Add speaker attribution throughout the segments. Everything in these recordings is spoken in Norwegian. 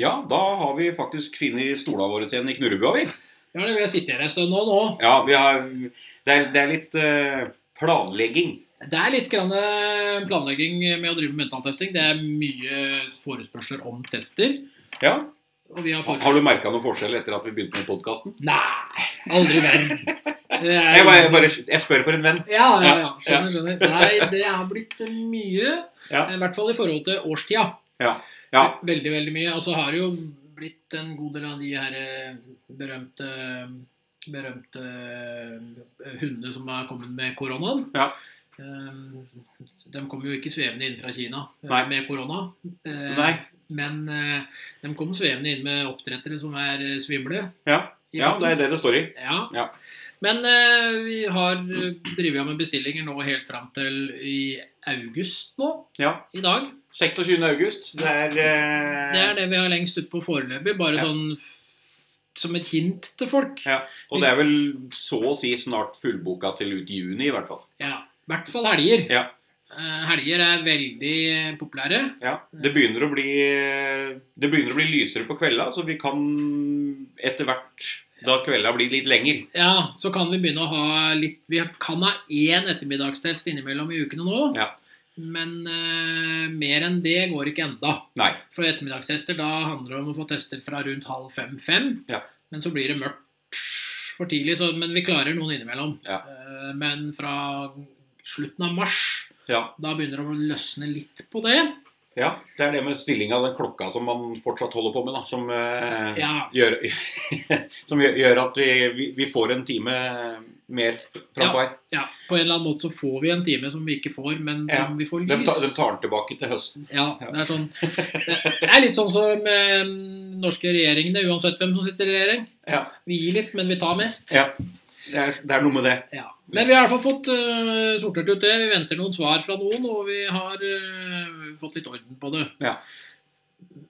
Speaker 1: Ja, da har vi faktisk funnet stola våre igjen i Knurrebua, vi.
Speaker 2: Ja, det vil jeg sitte her en stund nå, nå.
Speaker 1: Ja, vi har, det, er, det er litt eh, planlegging.
Speaker 2: Det er litt grann eh, planlegging med å drive med mentaltesting. Det er mye forespørsler om tester.
Speaker 1: Ja.
Speaker 2: Og vi har fått...
Speaker 1: Har du merka noen forskjell etter at vi begynte med podkasten?
Speaker 2: Nei, aldri i verden. Det er-
Speaker 1: Jeg, bare- bare- jeg spør for en venn.
Speaker 2: Ja, ja, ja. Skjønner, skjønner. Nei, det har blitt mye.
Speaker 1: Ja.
Speaker 2: I hvert fall i forhold til årstida.
Speaker 1: Ja. Ja.
Speaker 2: Veldig, veldig mye. Og så har det jo blitt en god del av de her eh, berømte eh, berømte eh, hundene som har kommet med koronaen.
Speaker 1: Ja.
Speaker 2: Eh, De kom jo ikke svevende inn fra Kina eh,
Speaker 1: Nei.
Speaker 2: med korona. Eh,
Speaker 1: Nei.
Speaker 2: Men eh, de kom svevende inn med oppdrettere som er eh, svimle.
Speaker 1: Ja.
Speaker 2: i
Speaker 1: ja,
Speaker 2: pappen.
Speaker 1: det er det det står i.
Speaker 2: Ja.
Speaker 1: Ja.
Speaker 2: Men eh, vi har eh, drevet med bestillinger nå helt fram til i august nå,
Speaker 1: Ja.
Speaker 2: i dag.
Speaker 1: 26. august. Det er, eh,
Speaker 2: Det er det vi har lengst ut på foreløpig, bare
Speaker 1: Ja.
Speaker 2: sånn f- som et hint til folk.
Speaker 1: Ja. Og det er vel så å si snart fullboka til ut i juni, i hvert fall.
Speaker 2: Ja, I hvert fall helger.
Speaker 1: Ja.
Speaker 2: Eh, Helger er veldig populære.
Speaker 1: Ja, det begynner å bli Det begynner å bli lysere på kvelda, så vi kan etter hvert, da kvelda blir litt lenger
Speaker 2: Ja, så kan vi begynne å ha litt Vi kan ha én ettermiddagstest innimellom i ukene nå.
Speaker 1: Ja.
Speaker 2: Men eh, mer enn det går ikke enda.
Speaker 1: Nei.
Speaker 2: For ettermiddagstester, da handler det om å få tester fra rundt halv fem-fem.
Speaker 1: Ja.
Speaker 2: Men så blir det mørkt for tidlig, så, men vi klarer noen innimellom.
Speaker 1: Ja.
Speaker 2: Eh, Men fra slutten av mars,
Speaker 1: Ja.
Speaker 2: da begynner det å løsne litt på det.
Speaker 1: ja. Det er det med stillinga av den klokka som man fortsatt holder på med, da. Som, eh,
Speaker 2: Ja.
Speaker 1: gjør, som gjør, gjør at vi, vi, vi får en time mer fra
Speaker 2: Ja.
Speaker 1: hver.
Speaker 2: Ja, På en eller annen måte så får vi en time som vi ikke får, men
Speaker 1: Ja.
Speaker 2: som vi får
Speaker 1: De,
Speaker 2: lys.
Speaker 1: ta, de tar den tilbake til høsten.
Speaker 2: Ja, det er sånn Det det er litt sånn som eh, norske regjeringene, uansett hvem som sitter i regjering.
Speaker 1: Ja.
Speaker 2: Vi gir litt, men vi tar mest.
Speaker 1: ja. Det, er, det er noe med det.
Speaker 2: Ja. Men vi har i hvert fall fått eh, sortert ut det. Vi venter noen svar fra noen, og vi har eh, fått litt orden på det.
Speaker 1: Ja.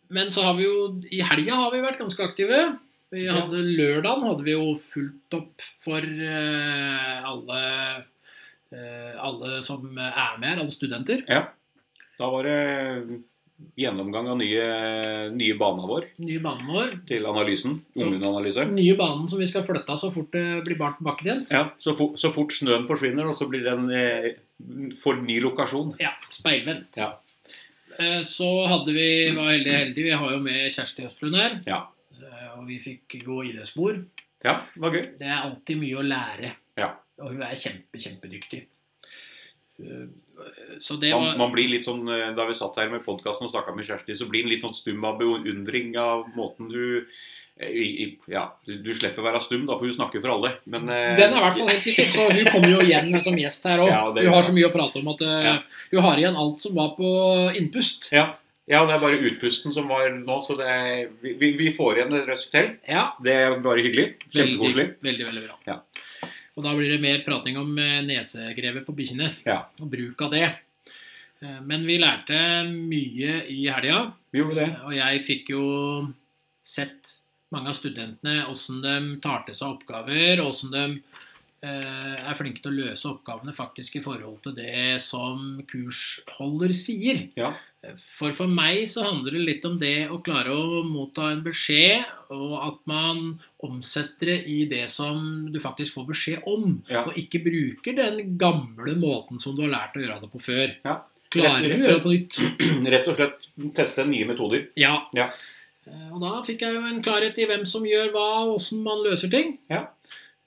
Speaker 2: Men så har vi jo I helga har vi vært ganske aktive. Vi
Speaker 1: Ja.
Speaker 2: hadde Lørdagen hadde vi jo fulgt opp for eh, alle eh, alle som er med her, alle studenter.
Speaker 1: Da var det gjennomgang av nye, nye bana vår
Speaker 2: Nye banen vår.
Speaker 1: til analysen. Ungdomsanalyse.
Speaker 2: Nye banen som vi skal flytte av så fort det blir bart på bakken igjen.
Speaker 1: Ja, så, for, så fort snøen forsvinner, og så blir den eh, for ny lokasjon.
Speaker 2: Ja, speilvendt.
Speaker 1: Ja.
Speaker 2: Eh, Så hadde vi, var heldig, heldig, vi har jo med Kjersti Østlund her.
Speaker 1: Ja.
Speaker 2: Eh, Og vi fikk gå idrettsspor.
Speaker 1: Ja, det var gøy.
Speaker 2: Det er alltid mye å lære.
Speaker 1: Ja.
Speaker 2: Og hun er kjempe, kjempedyktig. Eh, Så det
Speaker 1: Man,
Speaker 2: var
Speaker 1: man blir litt sånn, eh, Da vi satt her med podkasten og snakka med Kjersti, så blir en litt sånn stum av beundring av måten du eh, i, i, Ja, du du slipper å være stum, da, for hun snakker for alle. Men eh,
Speaker 2: Den er i hvert fall helt sikker, så hun kommer jo igjen som gjest her òg.
Speaker 1: Ja, det
Speaker 2: hun
Speaker 1: gjør
Speaker 2: har
Speaker 1: hun.
Speaker 2: så mye å prate om at eh,
Speaker 1: Ja.
Speaker 2: hun har igjen alt som var på innpust.
Speaker 1: Ja, ja, det er bare utpusten som var nå, så det er, vi, vi- vi får igjen et røsk til.
Speaker 2: Ja,
Speaker 1: Det er bare hyggelig.
Speaker 2: veldig,
Speaker 1: Kjempekoselig.
Speaker 2: veldig, veldig bra.
Speaker 1: Ja.
Speaker 2: Og da blir det mer prating om eh, nesegrevet på bikkjene
Speaker 1: Ja.
Speaker 2: og bruk av det. Eh, Men vi lærte mye i helga.
Speaker 1: Vi gjorde det.
Speaker 2: Og jeg fikk jo sett mange av studentene, åssen de tar til seg oppgaver, og åssen de eh, er flinke til å løse oppgavene faktisk i forhold til det som kursholder sier.
Speaker 1: Ja.
Speaker 2: For for meg så handler det litt om det å klare å motta en beskjed, og at man omsetter det i det som du faktisk får beskjed om,
Speaker 1: Ja.
Speaker 2: og ikke bruker den gamle måten som du har lært å gjøre det på før.
Speaker 1: Ja.
Speaker 2: Klarer du å gjøre det på nytt?
Speaker 1: Rett og slett teste nye metoder.
Speaker 2: Ja.
Speaker 1: Ja.
Speaker 2: Eh, Og da fikk jeg jo en klarhet i hvem som gjør hva, og åssen man løser ting.
Speaker 1: Ja.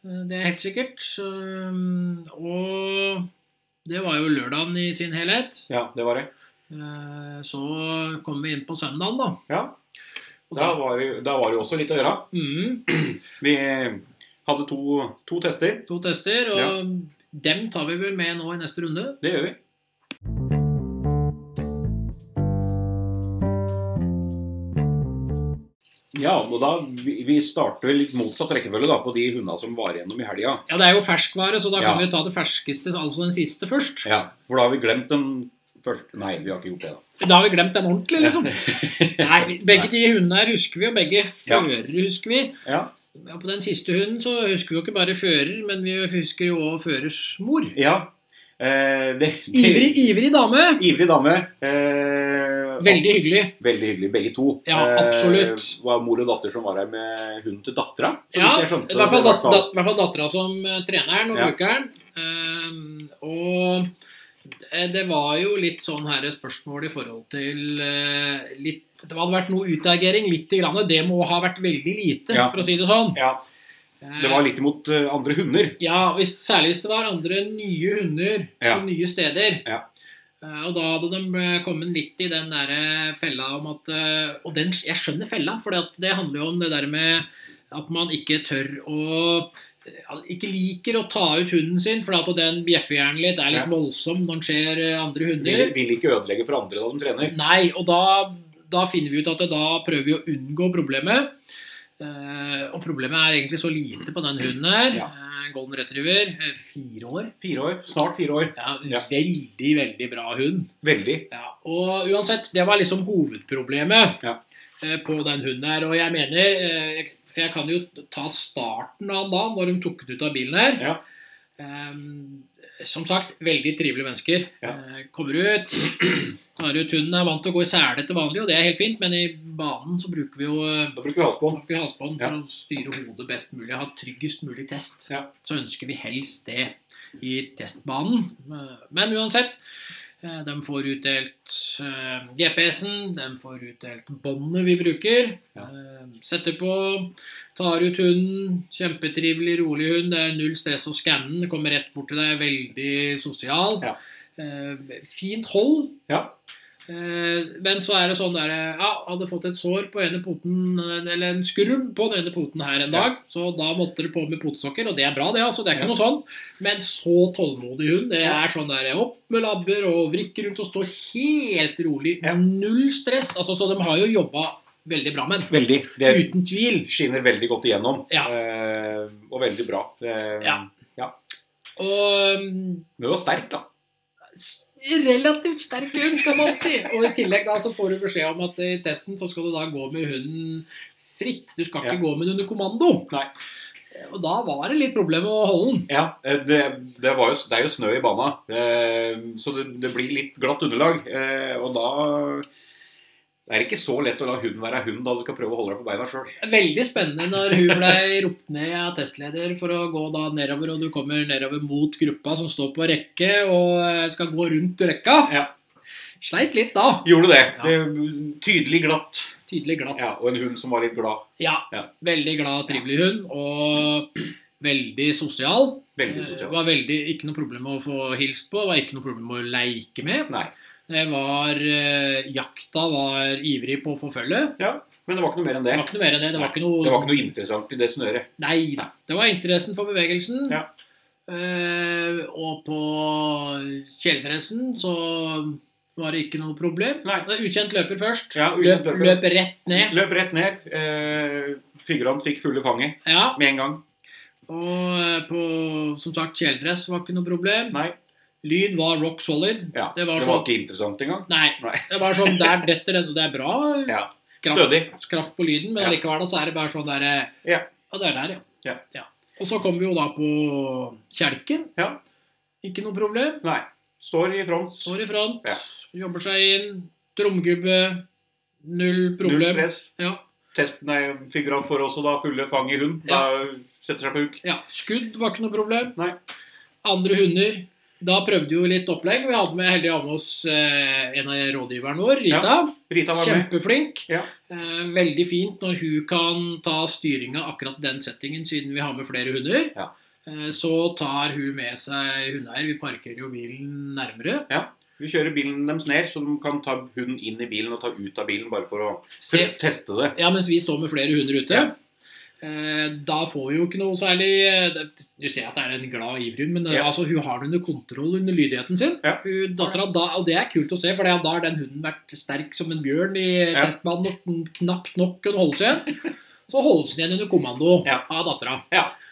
Speaker 2: Eh, Det er helt sikkert. Um, Og det var jo lørdagen i sin helhet.
Speaker 1: Ja, det var det.
Speaker 2: Eh, Så kom vi inn på søndagen, da.
Speaker 1: Ja,
Speaker 2: Og
Speaker 1: Da var, det- da var det jo også litt å gjøre.
Speaker 2: mm,
Speaker 1: Vi eh, hadde to, to tester.
Speaker 2: to tester, og dem tar vi vel med nå i neste runde.
Speaker 1: Det gjør vi. Ja, og da, vi vi starter vel litt motsatt rekkefølge da, på de hundene som var igjennom i helga.
Speaker 2: Ja, det er jo ferskvare, så da kan
Speaker 1: Ja.
Speaker 2: vi jo ta det ferskeste, altså den siste, først.
Speaker 1: Ja, for da har vi glemt den første Nei, vi har ikke gjort det, da.
Speaker 2: Da har vi glemt den ordentlig, liksom. Nei, vi- begge de hundene her husker vi, og begge
Speaker 1: Ja.
Speaker 2: førere husker vi.
Speaker 1: Ja,
Speaker 2: Ja, På den siste hunden så husker vi jo ikke bare fører, men vi husker jo også førers mor.
Speaker 1: ja. Eh, det, det,
Speaker 2: Ivrig, ivrig dame.
Speaker 1: Ivrig dame. Eh, eh,
Speaker 2: Veldig hyggelig.
Speaker 1: Veldig hyggelig, begge to.
Speaker 2: Ja,
Speaker 1: Eh,
Speaker 2: absolutt.
Speaker 1: var mor og datter som var her med hunden til dattera. så
Speaker 2: Ja,
Speaker 1: vidt jeg
Speaker 2: i
Speaker 1: skjønte,
Speaker 2: hvert
Speaker 1: så i
Speaker 2: fall, dat, dat, i hvert fall dattera som eh, treneren og
Speaker 1: Ja.
Speaker 2: brukeren. Ehm, og eh, det var jo litt sånn her spørsmål i forhold til eh, litt, Det hadde vært noe utagering, lite grann. Det må ha vært veldig lite,
Speaker 1: Ja.
Speaker 2: for å si det sånn.
Speaker 1: Ja, det var litt imot eh, andre hunder.
Speaker 2: Ja, hvis, særlig hvis det var andre nye hunder
Speaker 1: Ja.
Speaker 2: på nye steder.
Speaker 1: Ja.
Speaker 2: Eh, Og da hadde de eh, kommet litt i den der eh, fella om at eh, Og den, jeg skjønner fella, for det handler jo om det der med at man ikke tør å ja, ikke liker å ta ut hunden sin, for at den bjeffer gjerne litt, er
Speaker 1: Ja.
Speaker 2: litt voldsom når den ser eh, andre
Speaker 1: Vil,
Speaker 2: hunder.
Speaker 1: vil ikke ødelegge for andre da de trener.
Speaker 2: Nei, og da, da finner vi ut at det, da prøver vi å unngå problemet. Eh, og problemet er egentlig så lite på den hunden her.
Speaker 1: Ja.
Speaker 2: Eh, Golden retriever, eh, fire år.
Speaker 1: Fire år, Snart fire år.
Speaker 2: Ja,
Speaker 1: Ja.
Speaker 2: Veldig, veldig bra hund.
Speaker 1: Veldig.
Speaker 2: Ja, og uansett, det var liksom hovedproblemet
Speaker 1: Ja.
Speaker 2: eh, på den hunden her. Og jeg mener eh, For jeg kan jo ta starten av han da, når de tok den ut av bilen her.
Speaker 1: Ja.
Speaker 2: Eh, som sagt, veldig trivelige mennesker.
Speaker 1: Ja.
Speaker 2: Eh, kommer ut, tar ut hunden. Er vant til å gå i sele til vanlig, og det er helt fint, men i banen så bruker vi jo eh,
Speaker 1: Da bruker vi halsbånd.
Speaker 2: bruker vi halsbånd
Speaker 1: Ja.
Speaker 2: for å styre hodet best mulig, ha tryggest mulig test.
Speaker 1: Ja.
Speaker 2: Så ønsker vi helst det i testbanen. Men uansett, eh, de får utdelt eh, GPS-en, de får utdelt båndet vi bruker.
Speaker 1: Ja.
Speaker 2: eh, Setter på, tar ut hunden. Kjempetrivelig, rolig hund. Det er null stress å skanne den. Kommer rett bort til deg, veldig sosial.
Speaker 1: Ja.
Speaker 2: Eh, Fint hold.
Speaker 1: Ja.
Speaker 2: Eh, Men så er det sånn der Ja, hadde fått et sår på ene poten Eller en skrub på den ene poten her en
Speaker 1: Ja.
Speaker 2: dag. Så da måtte det på med potesokker, og det er bra, det. altså, Det er ikke
Speaker 1: Ja.
Speaker 2: noe sånn. Men så tålmodig hund. Det
Speaker 1: Ja.
Speaker 2: er sånn der opp med labber og vrikke rundt og stå helt rolig.
Speaker 1: Ja.
Speaker 2: Null stress. altså Så de har jo jobba veldig bra med den.
Speaker 1: Veldig. Det
Speaker 2: Uten tvil.
Speaker 1: skinner veldig godt igjennom.
Speaker 2: Ja.
Speaker 1: Eh, og veldig bra. Eh,
Speaker 2: Ja. Og mm,
Speaker 1: Men det var sterkt, da.
Speaker 2: s- relativt sterk hund, kan man si. Og i tillegg da så får du beskjed om at i testen så skal du da gå med hunden fritt. Du skal ikke
Speaker 1: Ja.
Speaker 2: gå med den under kommando.
Speaker 1: Nei.
Speaker 2: Og da var det litt problem å holde den.
Speaker 1: Ja, eh, det, det, var jo, det er jo snø i bana, eh, så det, det blir litt glatt underlag. Eh, og da det er ikke så lett å la hunden være hund da du skal prøve å holde deg på beina sjøl.
Speaker 2: Veldig spennende når hun ble ropt ned av testleder for å gå da nedover, og du kommer nedover mot gruppa som står på rekke og eh, skal gå rundt rekka.
Speaker 1: Ja.
Speaker 2: Sleit litt da.
Speaker 1: Gjorde det.
Speaker 2: Ja.
Speaker 1: det. Tydelig glatt.
Speaker 2: Tydelig glatt.
Speaker 1: Ja, og en hund som var litt glad.
Speaker 2: Ja,
Speaker 1: Ja.
Speaker 2: Veldig glad og trivelig hund, og veldig sosial.
Speaker 1: Veldig
Speaker 2: Eh,
Speaker 1: sosial.
Speaker 2: Var veldig, ikke noe problem å få hilst på, var ikke noe problem å leike med.
Speaker 1: Nei.
Speaker 2: Det var, eh, jakta var ivrig på å forfølge.
Speaker 1: Men det var ikke noe mer enn
Speaker 2: Det
Speaker 1: det.
Speaker 2: var ikke noe mer enn det. Det var ikke noe,
Speaker 1: Det var ikke noe interessant i det snøret.
Speaker 2: Nei da. Det var interessen for bevegelsen.
Speaker 1: Ja.
Speaker 2: Eh, og på kjeledressen så var det ikke noe problem.
Speaker 1: Nei.
Speaker 2: Det var Ukjent løper først.
Speaker 1: Ja, ukjent
Speaker 2: løp,
Speaker 1: løper.
Speaker 2: løp rett ned.
Speaker 1: Løp rett ned. Eh, Figurant fikk fulle fanget
Speaker 2: Ja,
Speaker 1: med en gang.
Speaker 2: Og eh, på, som sagt, kjeledress var ikke noe problem.
Speaker 1: Nei.
Speaker 2: Lyd var rock solid.
Speaker 1: Ja, det
Speaker 2: Det var
Speaker 1: var,
Speaker 2: sånn-
Speaker 1: ikke interessant engang.
Speaker 2: Nei.
Speaker 1: Nei.
Speaker 2: Det var sånn der detter den, og det er bra.
Speaker 1: Ja.
Speaker 2: Kraft,
Speaker 1: Stødig.
Speaker 2: kraft på lyden, men
Speaker 1: Ja.
Speaker 2: likevel så er det bare sånn der eh,
Speaker 1: Ja.
Speaker 2: Ja, det er der, ja.
Speaker 1: Ja.
Speaker 2: Og så kom vi jo da på kjelken.
Speaker 1: Ja.
Speaker 2: Ikke noe problem.
Speaker 1: Nei. Står i front.
Speaker 2: Står i front,
Speaker 1: Ja.
Speaker 2: jobber seg inn. Tromgubbe. Null
Speaker 1: Null
Speaker 2: problem.
Speaker 1: stress.
Speaker 2: Ja.
Speaker 1: Test, nei, figurant får også da fulle fang i hund. Da setter seg på huk.
Speaker 2: Ja, skudd var ikke noe problem.
Speaker 1: Nei.
Speaker 2: Andre hunder. Da prøvde vi jo litt opplegg. Vi hadde med heldig av med oss eh, en av rådgiverne vår, Rita.
Speaker 1: Rita var med.
Speaker 2: Kjempeflink.
Speaker 1: Ja.
Speaker 2: Eh, veldig fint når hun kan ta styringa akkurat den settingen, siden vi har med flere hunder.
Speaker 1: Ja.
Speaker 2: Eh, så tar hun med seg hundeeier. Vi parkerer jo bilen nærmere.
Speaker 1: Vi kjører bilen deres ned, så de kan ta hunden inn i bilen og ta ut av bilen bare for å
Speaker 2: Se,
Speaker 1: teste det.
Speaker 2: Ja, mens vi står med flere hunder ute. Eh, Da får vi jo ikke noe særlig eh, det- Du ser at det er en glad ivrihund, men eh,
Speaker 1: Ja.
Speaker 2: altså, hun har det under kontroll under lydigheten sin.
Speaker 1: Ja.
Speaker 2: Hun, datteren, da, og det er kult å se, for da har den hunden vært sterk som en bjørn i
Speaker 1: Ja.
Speaker 2: testbanen og den knapt nok kunne holde seg igjen. Så holdes den igjen under kommando
Speaker 1: Ja.
Speaker 2: av dattera.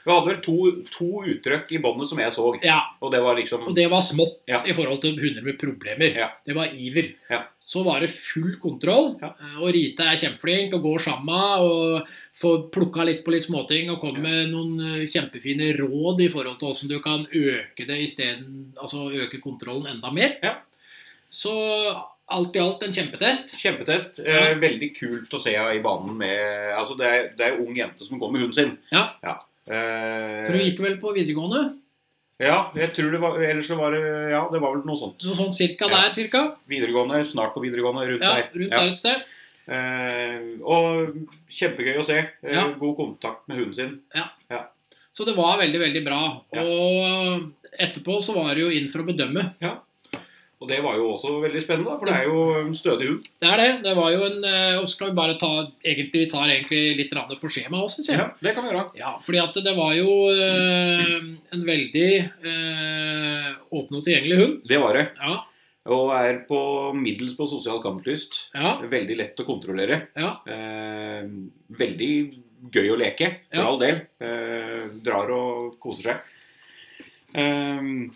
Speaker 1: Vi hadde vel to, to uttrykk i båndet som jeg så,
Speaker 2: Ja,
Speaker 1: og det var liksom
Speaker 2: og det var smått
Speaker 1: Ja.
Speaker 2: i forhold til hunder med problemer.
Speaker 1: Ja.
Speaker 2: Det var iver.
Speaker 1: Ja.
Speaker 2: Så var det full kontroll.
Speaker 1: Ja.
Speaker 2: eh, Og Rita er kjempeflink og går sammen og får plukka litt på litt småting og kommer
Speaker 1: Ja.
Speaker 2: med noen eh, kjempefine råd i forhold til hvordan du kan øke det i stedet, altså øke kontrollen enda mer.
Speaker 1: Ja.
Speaker 2: Så alt i alt en kjempetest.
Speaker 1: Kjempetest. Eh, Veldig kult å se henne i banen med Altså, det er, det er ung jente som går med hunden sin.
Speaker 2: Ja.
Speaker 1: Eh,
Speaker 2: For hun gikk vel på videregående,
Speaker 1: Ja, jeg tror det var Ellers så var det Ja, det var vel noe sånt.
Speaker 2: så sånn cirka
Speaker 1: Ja.
Speaker 2: der, cirka.
Speaker 1: Videregående, snart på videregående, rundt
Speaker 2: Ja,
Speaker 1: der.
Speaker 2: rundt
Speaker 1: Ja.
Speaker 2: der et sted.
Speaker 1: Eh, og kjempegøy å se. Eh,
Speaker 2: Ja.
Speaker 1: God kontakt med hunden sin.
Speaker 2: Så det var veldig, veldig bra.
Speaker 1: Ja.
Speaker 2: Og etterpå så var det jo inn for å bedømme.
Speaker 1: Og det var jo også veldig spennende, da, for det er jo en stødig hund.
Speaker 2: Det er det. Det var jo en eh, Og så skal vi bare ta Egentlig tar egentlig litt rande på skjemaet òg, syns jeg.
Speaker 1: Ja, det kan vi gjøre.
Speaker 2: Ja, fordi at det var jo eh, en veldig eh, åpen og tilgjengelig hund.
Speaker 1: Det var det.
Speaker 2: Ja,
Speaker 1: Og er på middels på sosial kamplyst.
Speaker 2: ja,
Speaker 1: Veldig lett å kontrollere.
Speaker 2: ja.
Speaker 1: Eh, veldig gøy å leke, for
Speaker 2: Ja.
Speaker 1: all del. Eh, drar og koser seg. Eh,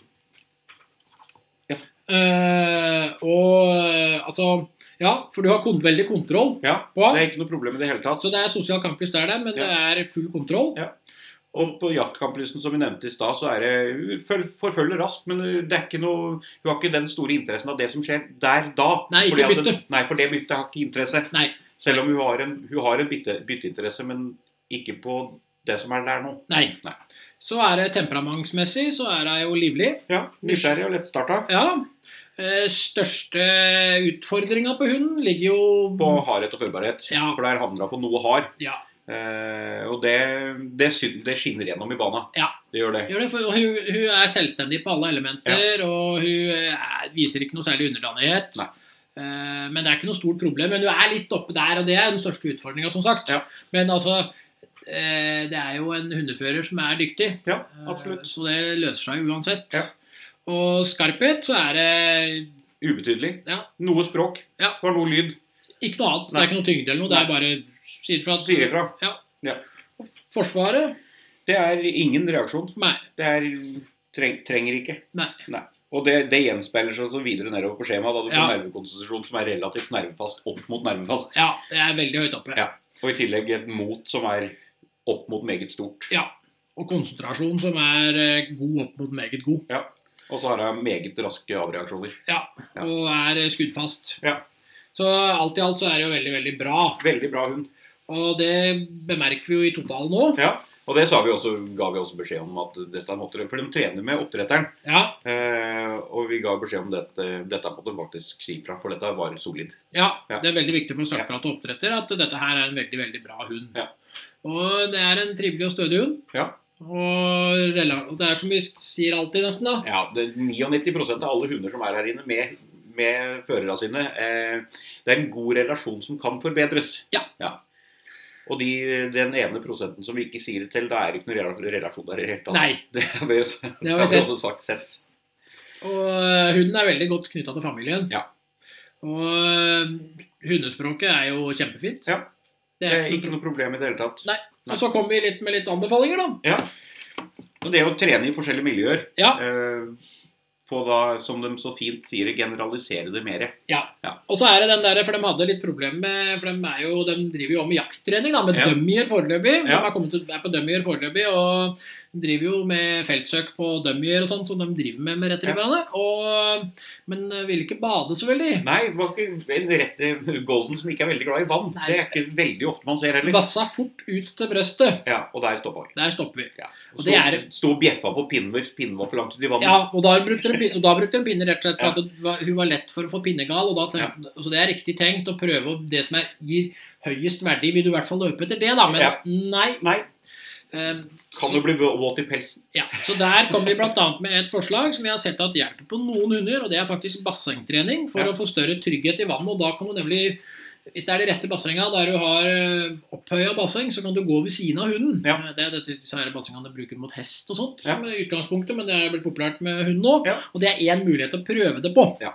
Speaker 2: Eh, og eh, altså Ja, for du har kon veldig kontroll
Speaker 1: ja,
Speaker 2: på
Speaker 1: det
Speaker 2: han.
Speaker 1: er ikke noe problem i det hele tatt.
Speaker 2: Så det er sosial kamplyst der, det, men det er full kontroll.
Speaker 1: Ja. Og på jaktkamplysten som vi nevnte i stad, så er det hun føl- forfølger raskt, men det er ikke noe Hun har ikke den store interessen av det som skjer der da.
Speaker 2: Nei, ikke
Speaker 1: Fordi at
Speaker 2: bytte.
Speaker 1: den- Nei, for det byttet har ikke interesse.
Speaker 2: Nei.
Speaker 1: Selv om hun har en, hun har en bytte, bytteinteresse, men ikke på det som er der nå.
Speaker 2: Nei.
Speaker 1: Nei.
Speaker 2: Så er det temperamentsmessig, så er hun jo livlig.
Speaker 1: Ja, Nysgjerrig og lettstarta.
Speaker 2: Ja. Eh, største utfordringa på hunden ligger jo
Speaker 1: På hardhet og førbarhet.
Speaker 2: Ja.
Speaker 1: For der havner hun på noe hard.
Speaker 2: Ja.
Speaker 1: Eh, og det, det, syn- det skinner gjennom i bana.
Speaker 2: Ja.
Speaker 1: Det gjør det.
Speaker 2: Gjør det, for hun, hun er selvstendig på alle elementer, og hun eh, viser ikke noe særlig underdanighet.
Speaker 1: Nei.
Speaker 2: Eh, Men det er ikke noe stort problem. Men hun er litt oppe der, og det er den største utfordringa, som sagt.
Speaker 1: Ja.
Speaker 2: Men altså, eh, det er jo en hundefører som er dyktig,
Speaker 1: Ja,
Speaker 2: eh,
Speaker 1: absolutt.
Speaker 2: så det løser seg uansett.
Speaker 1: Ja.
Speaker 2: Og skarphet, så er det
Speaker 1: Ubetydelig.
Speaker 2: Ja.
Speaker 1: Noe språk.
Speaker 2: Ja.
Speaker 1: Det var noe lyd.
Speaker 2: ikke noe annet. Det
Speaker 1: Nei.
Speaker 2: er ikke noe tyngde eller noe. Det er bare sier fra.
Speaker 1: Sier ifra.
Speaker 2: Forsvaret?
Speaker 1: Det er ingen reaksjon.
Speaker 2: Nei.
Speaker 1: Det er, treng, trenger ikke.
Speaker 2: Nei.
Speaker 1: Og det, det gjenspeiler seg så videre nedover på skjemaet, da du får
Speaker 2: Ja.
Speaker 1: nervekonstitusjon som er relativt nervefast opp mot nervefast.
Speaker 2: Ja, det er veldig høyt oppe.
Speaker 1: Ja. Og i tillegg et mot som er opp mot meget stort.
Speaker 2: Og konsentrasjon som er eh, god opp mot meget god.
Speaker 1: Og så har jeg meget raske avreaksjoner. Ja.
Speaker 2: og er skuddfast.
Speaker 1: Ja.
Speaker 2: Så alt i alt så er det jo veldig, veldig bra.
Speaker 1: Veldig bra hund.
Speaker 2: Og det bemerker vi jo i totalen nå.
Speaker 1: Ja. Og det sa vi også, ga vi også beskjed om at dette måtte de For de trener med oppdretteren.
Speaker 2: Ja,
Speaker 1: Eh, og vi ga beskjed om dette, dette måtte de faktisk si fra, for dette var solid.
Speaker 2: ja,
Speaker 1: Ja.
Speaker 2: det er veldig viktig for søkprat og oppdretter at dette her er en veldig, veldig bra hund.
Speaker 1: Ja.
Speaker 2: Og det er en trivelig og stødig hund.
Speaker 1: Ja.
Speaker 2: Og, rela- og det er som vi sier alltid, nesten, da.
Speaker 1: Ja, det, 99 av alle hunder som er her inne med, med førerne sine, eh, det er en god relasjon som kan forbedres.
Speaker 2: Ja.
Speaker 1: Og de, den ene prosenten som vi ikke sier det til, da er det ikke noen rela- relasjon der i det hele tatt.
Speaker 2: Nei.
Speaker 1: Det har vi, også,
Speaker 2: Det
Speaker 1: det
Speaker 2: har
Speaker 1: har
Speaker 2: vi
Speaker 1: vi
Speaker 2: sett.
Speaker 1: også sagt sett.
Speaker 2: Og eh, hunden er veldig godt knytta til familien.
Speaker 1: Ja.
Speaker 2: Og eh, hundespråket er jo kjempefint.
Speaker 1: Ja. Det
Speaker 2: Det er
Speaker 1: er
Speaker 2: ikke noe
Speaker 1: ikke noe problem i det hele tatt.
Speaker 2: Nei. pro- Og så kommer vi litt med litt anbefalinger, da.
Speaker 1: Og det å trene i forskjellige miljøer
Speaker 2: Ja.
Speaker 1: eh, Få da, som de så fint sier, generalisere det mer.
Speaker 2: Og så er det den der, for de hadde litt problemer med For de, er jo, de driver jo med jakttrening, da, med
Speaker 1: Ja.
Speaker 2: dummier foreløpig. De
Speaker 1: Ja.
Speaker 2: er, kommet, ut- er på dummier foreløpig, og de driver jo med feltsøk på dummier og sånn, som de driver med med retrieverne. Og, men eh, vil ikke bade så veldig.
Speaker 1: Nei, det var ikke en rett, Golden som ikke er veldig glad i vann.
Speaker 2: Nei.
Speaker 1: Det er ikke veldig ofte man ser heller.
Speaker 2: Vassa fort ut til brøstet.
Speaker 1: Ja, Og der stoppa vi.
Speaker 2: Der stopper vi. Og
Speaker 1: Sto
Speaker 2: det er-
Speaker 1: sto og bjeffa på pinnvoff pinnvoff langt ut i vannet.
Speaker 2: Ja, og da brukte de, pin- og da brukte de pinne rett og slett for at det var, hun var lett for å få pinnegal. Og da tenkte, så det er riktig tenkt å prøve å- det som er, gir høyest verdi. Vil du i hvert fall løpe etter det, da? Men
Speaker 1: Ja.
Speaker 2: nei.
Speaker 1: Nei,
Speaker 2: eh,
Speaker 1: kan du bli vå- våt i pelsen?
Speaker 2: Ja, så Der kom vi bl.a. med et forslag som vi har sett at hjelper på noen hunder. og Det er faktisk bassengtrening for
Speaker 1: Ja.
Speaker 2: å få større trygghet i vannet. og da kan du nemlig, Hvis det er de rette bassenga der du har opphøya basseng, så kan du gå ved siden av hunden.
Speaker 1: Ja.
Speaker 2: Eh, Det er dette disse her bassengene de bruker mot hest og sånt,
Speaker 1: Ja.
Speaker 2: som er utgangspunktet, men det er blitt populært med hund nå.
Speaker 1: Ja.
Speaker 2: Og det er én mulighet å prøve det på.
Speaker 1: Ja.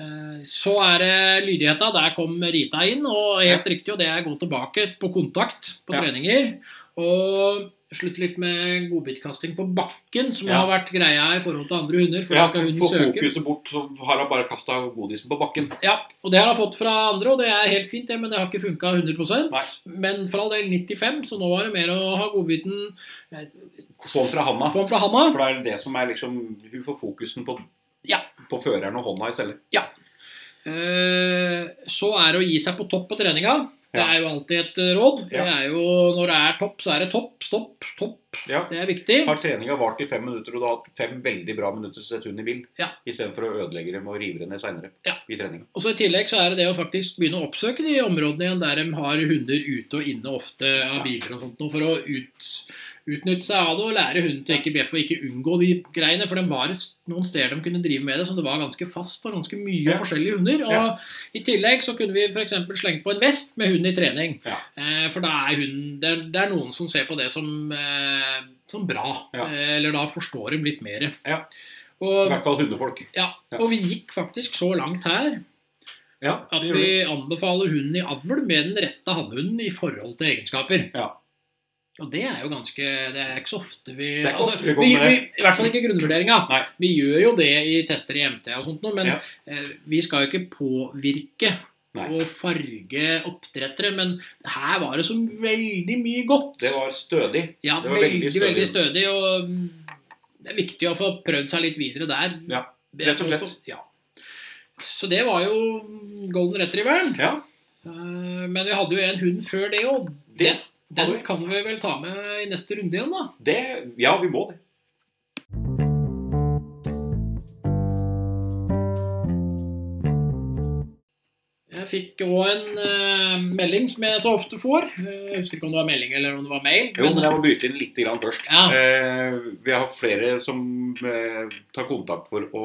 Speaker 2: Eh, Så er det lydigheta. Der kom Rita inn. Og helt riktig, og det er gå tilbake på kontakt på
Speaker 1: Ja.
Speaker 2: treninger. Og slutt litt med godbitkasting på bakken, som
Speaker 1: Ja.
Speaker 2: har vært greia i forhold til andre hunder. For
Speaker 1: Ja,
Speaker 2: da skal hunden
Speaker 1: Få
Speaker 2: søke.
Speaker 1: fokuset bort, så har hun bare kasta godisen på bakken.
Speaker 2: Ja, og det har jeg fått fra andre, og det er helt fint, det, men det har ikke funka 100
Speaker 1: Nei.
Speaker 2: Men for all del 95, så nå var det mer å ha godbiten
Speaker 1: Få den fra handa.
Speaker 2: Få den fra handa.
Speaker 1: For det er det som er liksom Hun får fokusen på,
Speaker 2: Ja.
Speaker 1: på føreren og hånda i stedet.
Speaker 2: Eh, Så er det å gi seg på topp på treninga. Det
Speaker 1: Ja.
Speaker 2: er jo alltid et eh, råd.
Speaker 1: Ja.
Speaker 2: Det er jo, når det er topp, så er det topp, stopp, topp.
Speaker 1: Ja.
Speaker 2: Det er viktig.
Speaker 1: Har treninga vart i fem minutter, og du har hatt fem veldig bra minutter, så sett hunden i bil.
Speaker 2: Ja.
Speaker 1: Istedenfor å ødelegge dem og rive dem ned seinere
Speaker 2: Ja.
Speaker 1: i treninga.
Speaker 2: Og så I tillegg så er det det å faktisk begynne å oppsøke de områdene igjen der de har hunder ute og inne ofte av biler og sånt noe, for å ut, utnytte seg av det og lære hunden til ikke bjeffe og ikke unngå de greiene. For det var et, noen steder de kunne drive med det som det var ganske fast og ganske mye
Speaker 1: Ja.
Speaker 2: forskjellige hunder. Og
Speaker 1: Ja.
Speaker 2: I tillegg så kunne vi f.eks. slenge på en vest med hund i trening.
Speaker 1: Ja.
Speaker 2: Eh, for da er hunden det, er- det er noen som ser på det som, eh, som bra.
Speaker 1: Ja.
Speaker 2: Eh, eller da forstår de litt mer.
Speaker 1: Ja. I
Speaker 2: Og
Speaker 1: hvert fall hundefolk.
Speaker 2: ja,
Speaker 1: Ja.
Speaker 2: og vi gikk faktisk så langt her
Speaker 1: Ja,
Speaker 2: at
Speaker 1: det gjør
Speaker 2: vi anbefaler hunden i avl med den rette hannhunden i forhold til egenskaper.
Speaker 1: Ja.
Speaker 2: Og det er jo ganske Det er ikke så ofte vi Altså,
Speaker 1: er ikke ofte vi går
Speaker 2: vi,
Speaker 1: med
Speaker 2: vi,
Speaker 1: det.
Speaker 2: I hvert fall ikke grunnvurderinga.
Speaker 1: Nei.
Speaker 2: Vi gjør jo det i tester i MT og sånt noe, men
Speaker 1: Ja.
Speaker 2: eh, vi skal jo ikke påvirke
Speaker 1: Nei.
Speaker 2: og farge oppdrettere. Men her var det så veldig mye godt.
Speaker 1: Det var stødig.
Speaker 2: Ja,
Speaker 1: Det var
Speaker 2: veldig,
Speaker 1: veldig
Speaker 2: veldig
Speaker 1: stødig.
Speaker 2: stødig. og mm, det er viktig å få prøvd seg litt videre der.
Speaker 1: Ja,
Speaker 2: vil jeg
Speaker 1: rett og slett.
Speaker 2: påstå. Ja. Så det var jo golden retrieveren.
Speaker 1: Ja,
Speaker 2: Eh, Men vi hadde jo en hund før det òg.
Speaker 1: det,
Speaker 2: Den
Speaker 1: hadde vi.
Speaker 2: kan vi vel ta med i neste runde igjen, da.
Speaker 1: det Ja, vi må det.
Speaker 2: Jeg fikk òg en eh, melding som jeg så ofte får. Eh, jeg husker ikke om det var melding eller om det var mail.
Speaker 1: Jo, men
Speaker 2: men,
Speaker 1: jeg må bryte inn litt grann først.
Speaker 2: Ja.
Speaker 1: Eh, vi har flere som eh, tar kontakt for å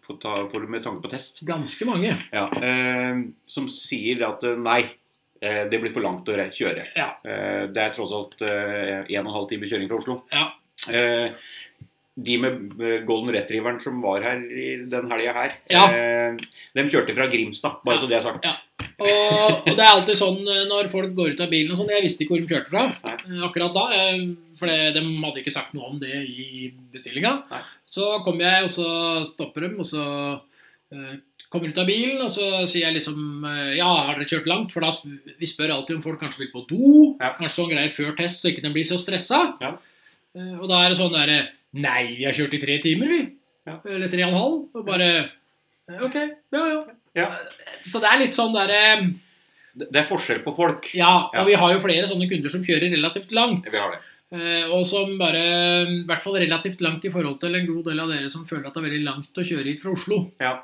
Speaker 1: for, ta, for, med tanke på test.
Speaker 2: ganske mange.
Speaker 1: Ja, eh, som sier at eh, nei, eh, det blir for langt å re- kjøre.
Speaker 2: Ja.
Speaker 1: Eh, det er tross alt eh, en og en halv time kjøring fra Oslo.
Speaker 2: Ja.
Speaker 1: Eh, de med eh, Golden Retrieveren som var her i den helga her,
Speaker 2: Ja.
Speaker 1: eh, de kjørte fra Grimstad, bare
Speaker 2: Ja.
Speaker 1: så det er sagt.
Speaker 2: Ja. Og, og det er alltid sånn eh, når folk går ut av bilen og sånn Jeg visste ikke hvor de kjørte fra eh, akkurat da. eh, For det, de hadde ikke sagt noe om det
Speaker 1: Nei.
Speaker 2: i bestillinga. Så kommer jeg, og så stopper de, og så eh, kommer ut av bilen, og så sier jeg liksom eh, Ja, har dere kjørt langt? For da sp- vi spør alltid om folk kanskje vil på do.
Speaker 1: Ja.
Speaker 2: Kanskje sånn greier før test, så ikke de blir så stressa.
Speaker 1: Ja.
Speaker 2: Eh, Og da er det sånn derre Nei, vi har kjørt i tre timer, vi.
Speaker 1: Ja.
Speaker 2: Eller tre og en halv. Og bare eh, Ok, ja, ja.
Speaker 1: Ja.
Speaker 2: Så det er litt sånn derre
Speaker 1: Det det er forskjell på folk.
Speaker 2: ja, og
Speaker 1: Ja.
Speaker 2: vi har jo flere sånne kunder som kjører relativt langt.
Speaker 1: Vi har det.
Speaker 2: eh, Og som bare, mm, i hvert fall relativt langt i forhold til en god del av dere som føler at det er veldig langt å kjøre hit fra Oslo.
Speaker 1: Ja.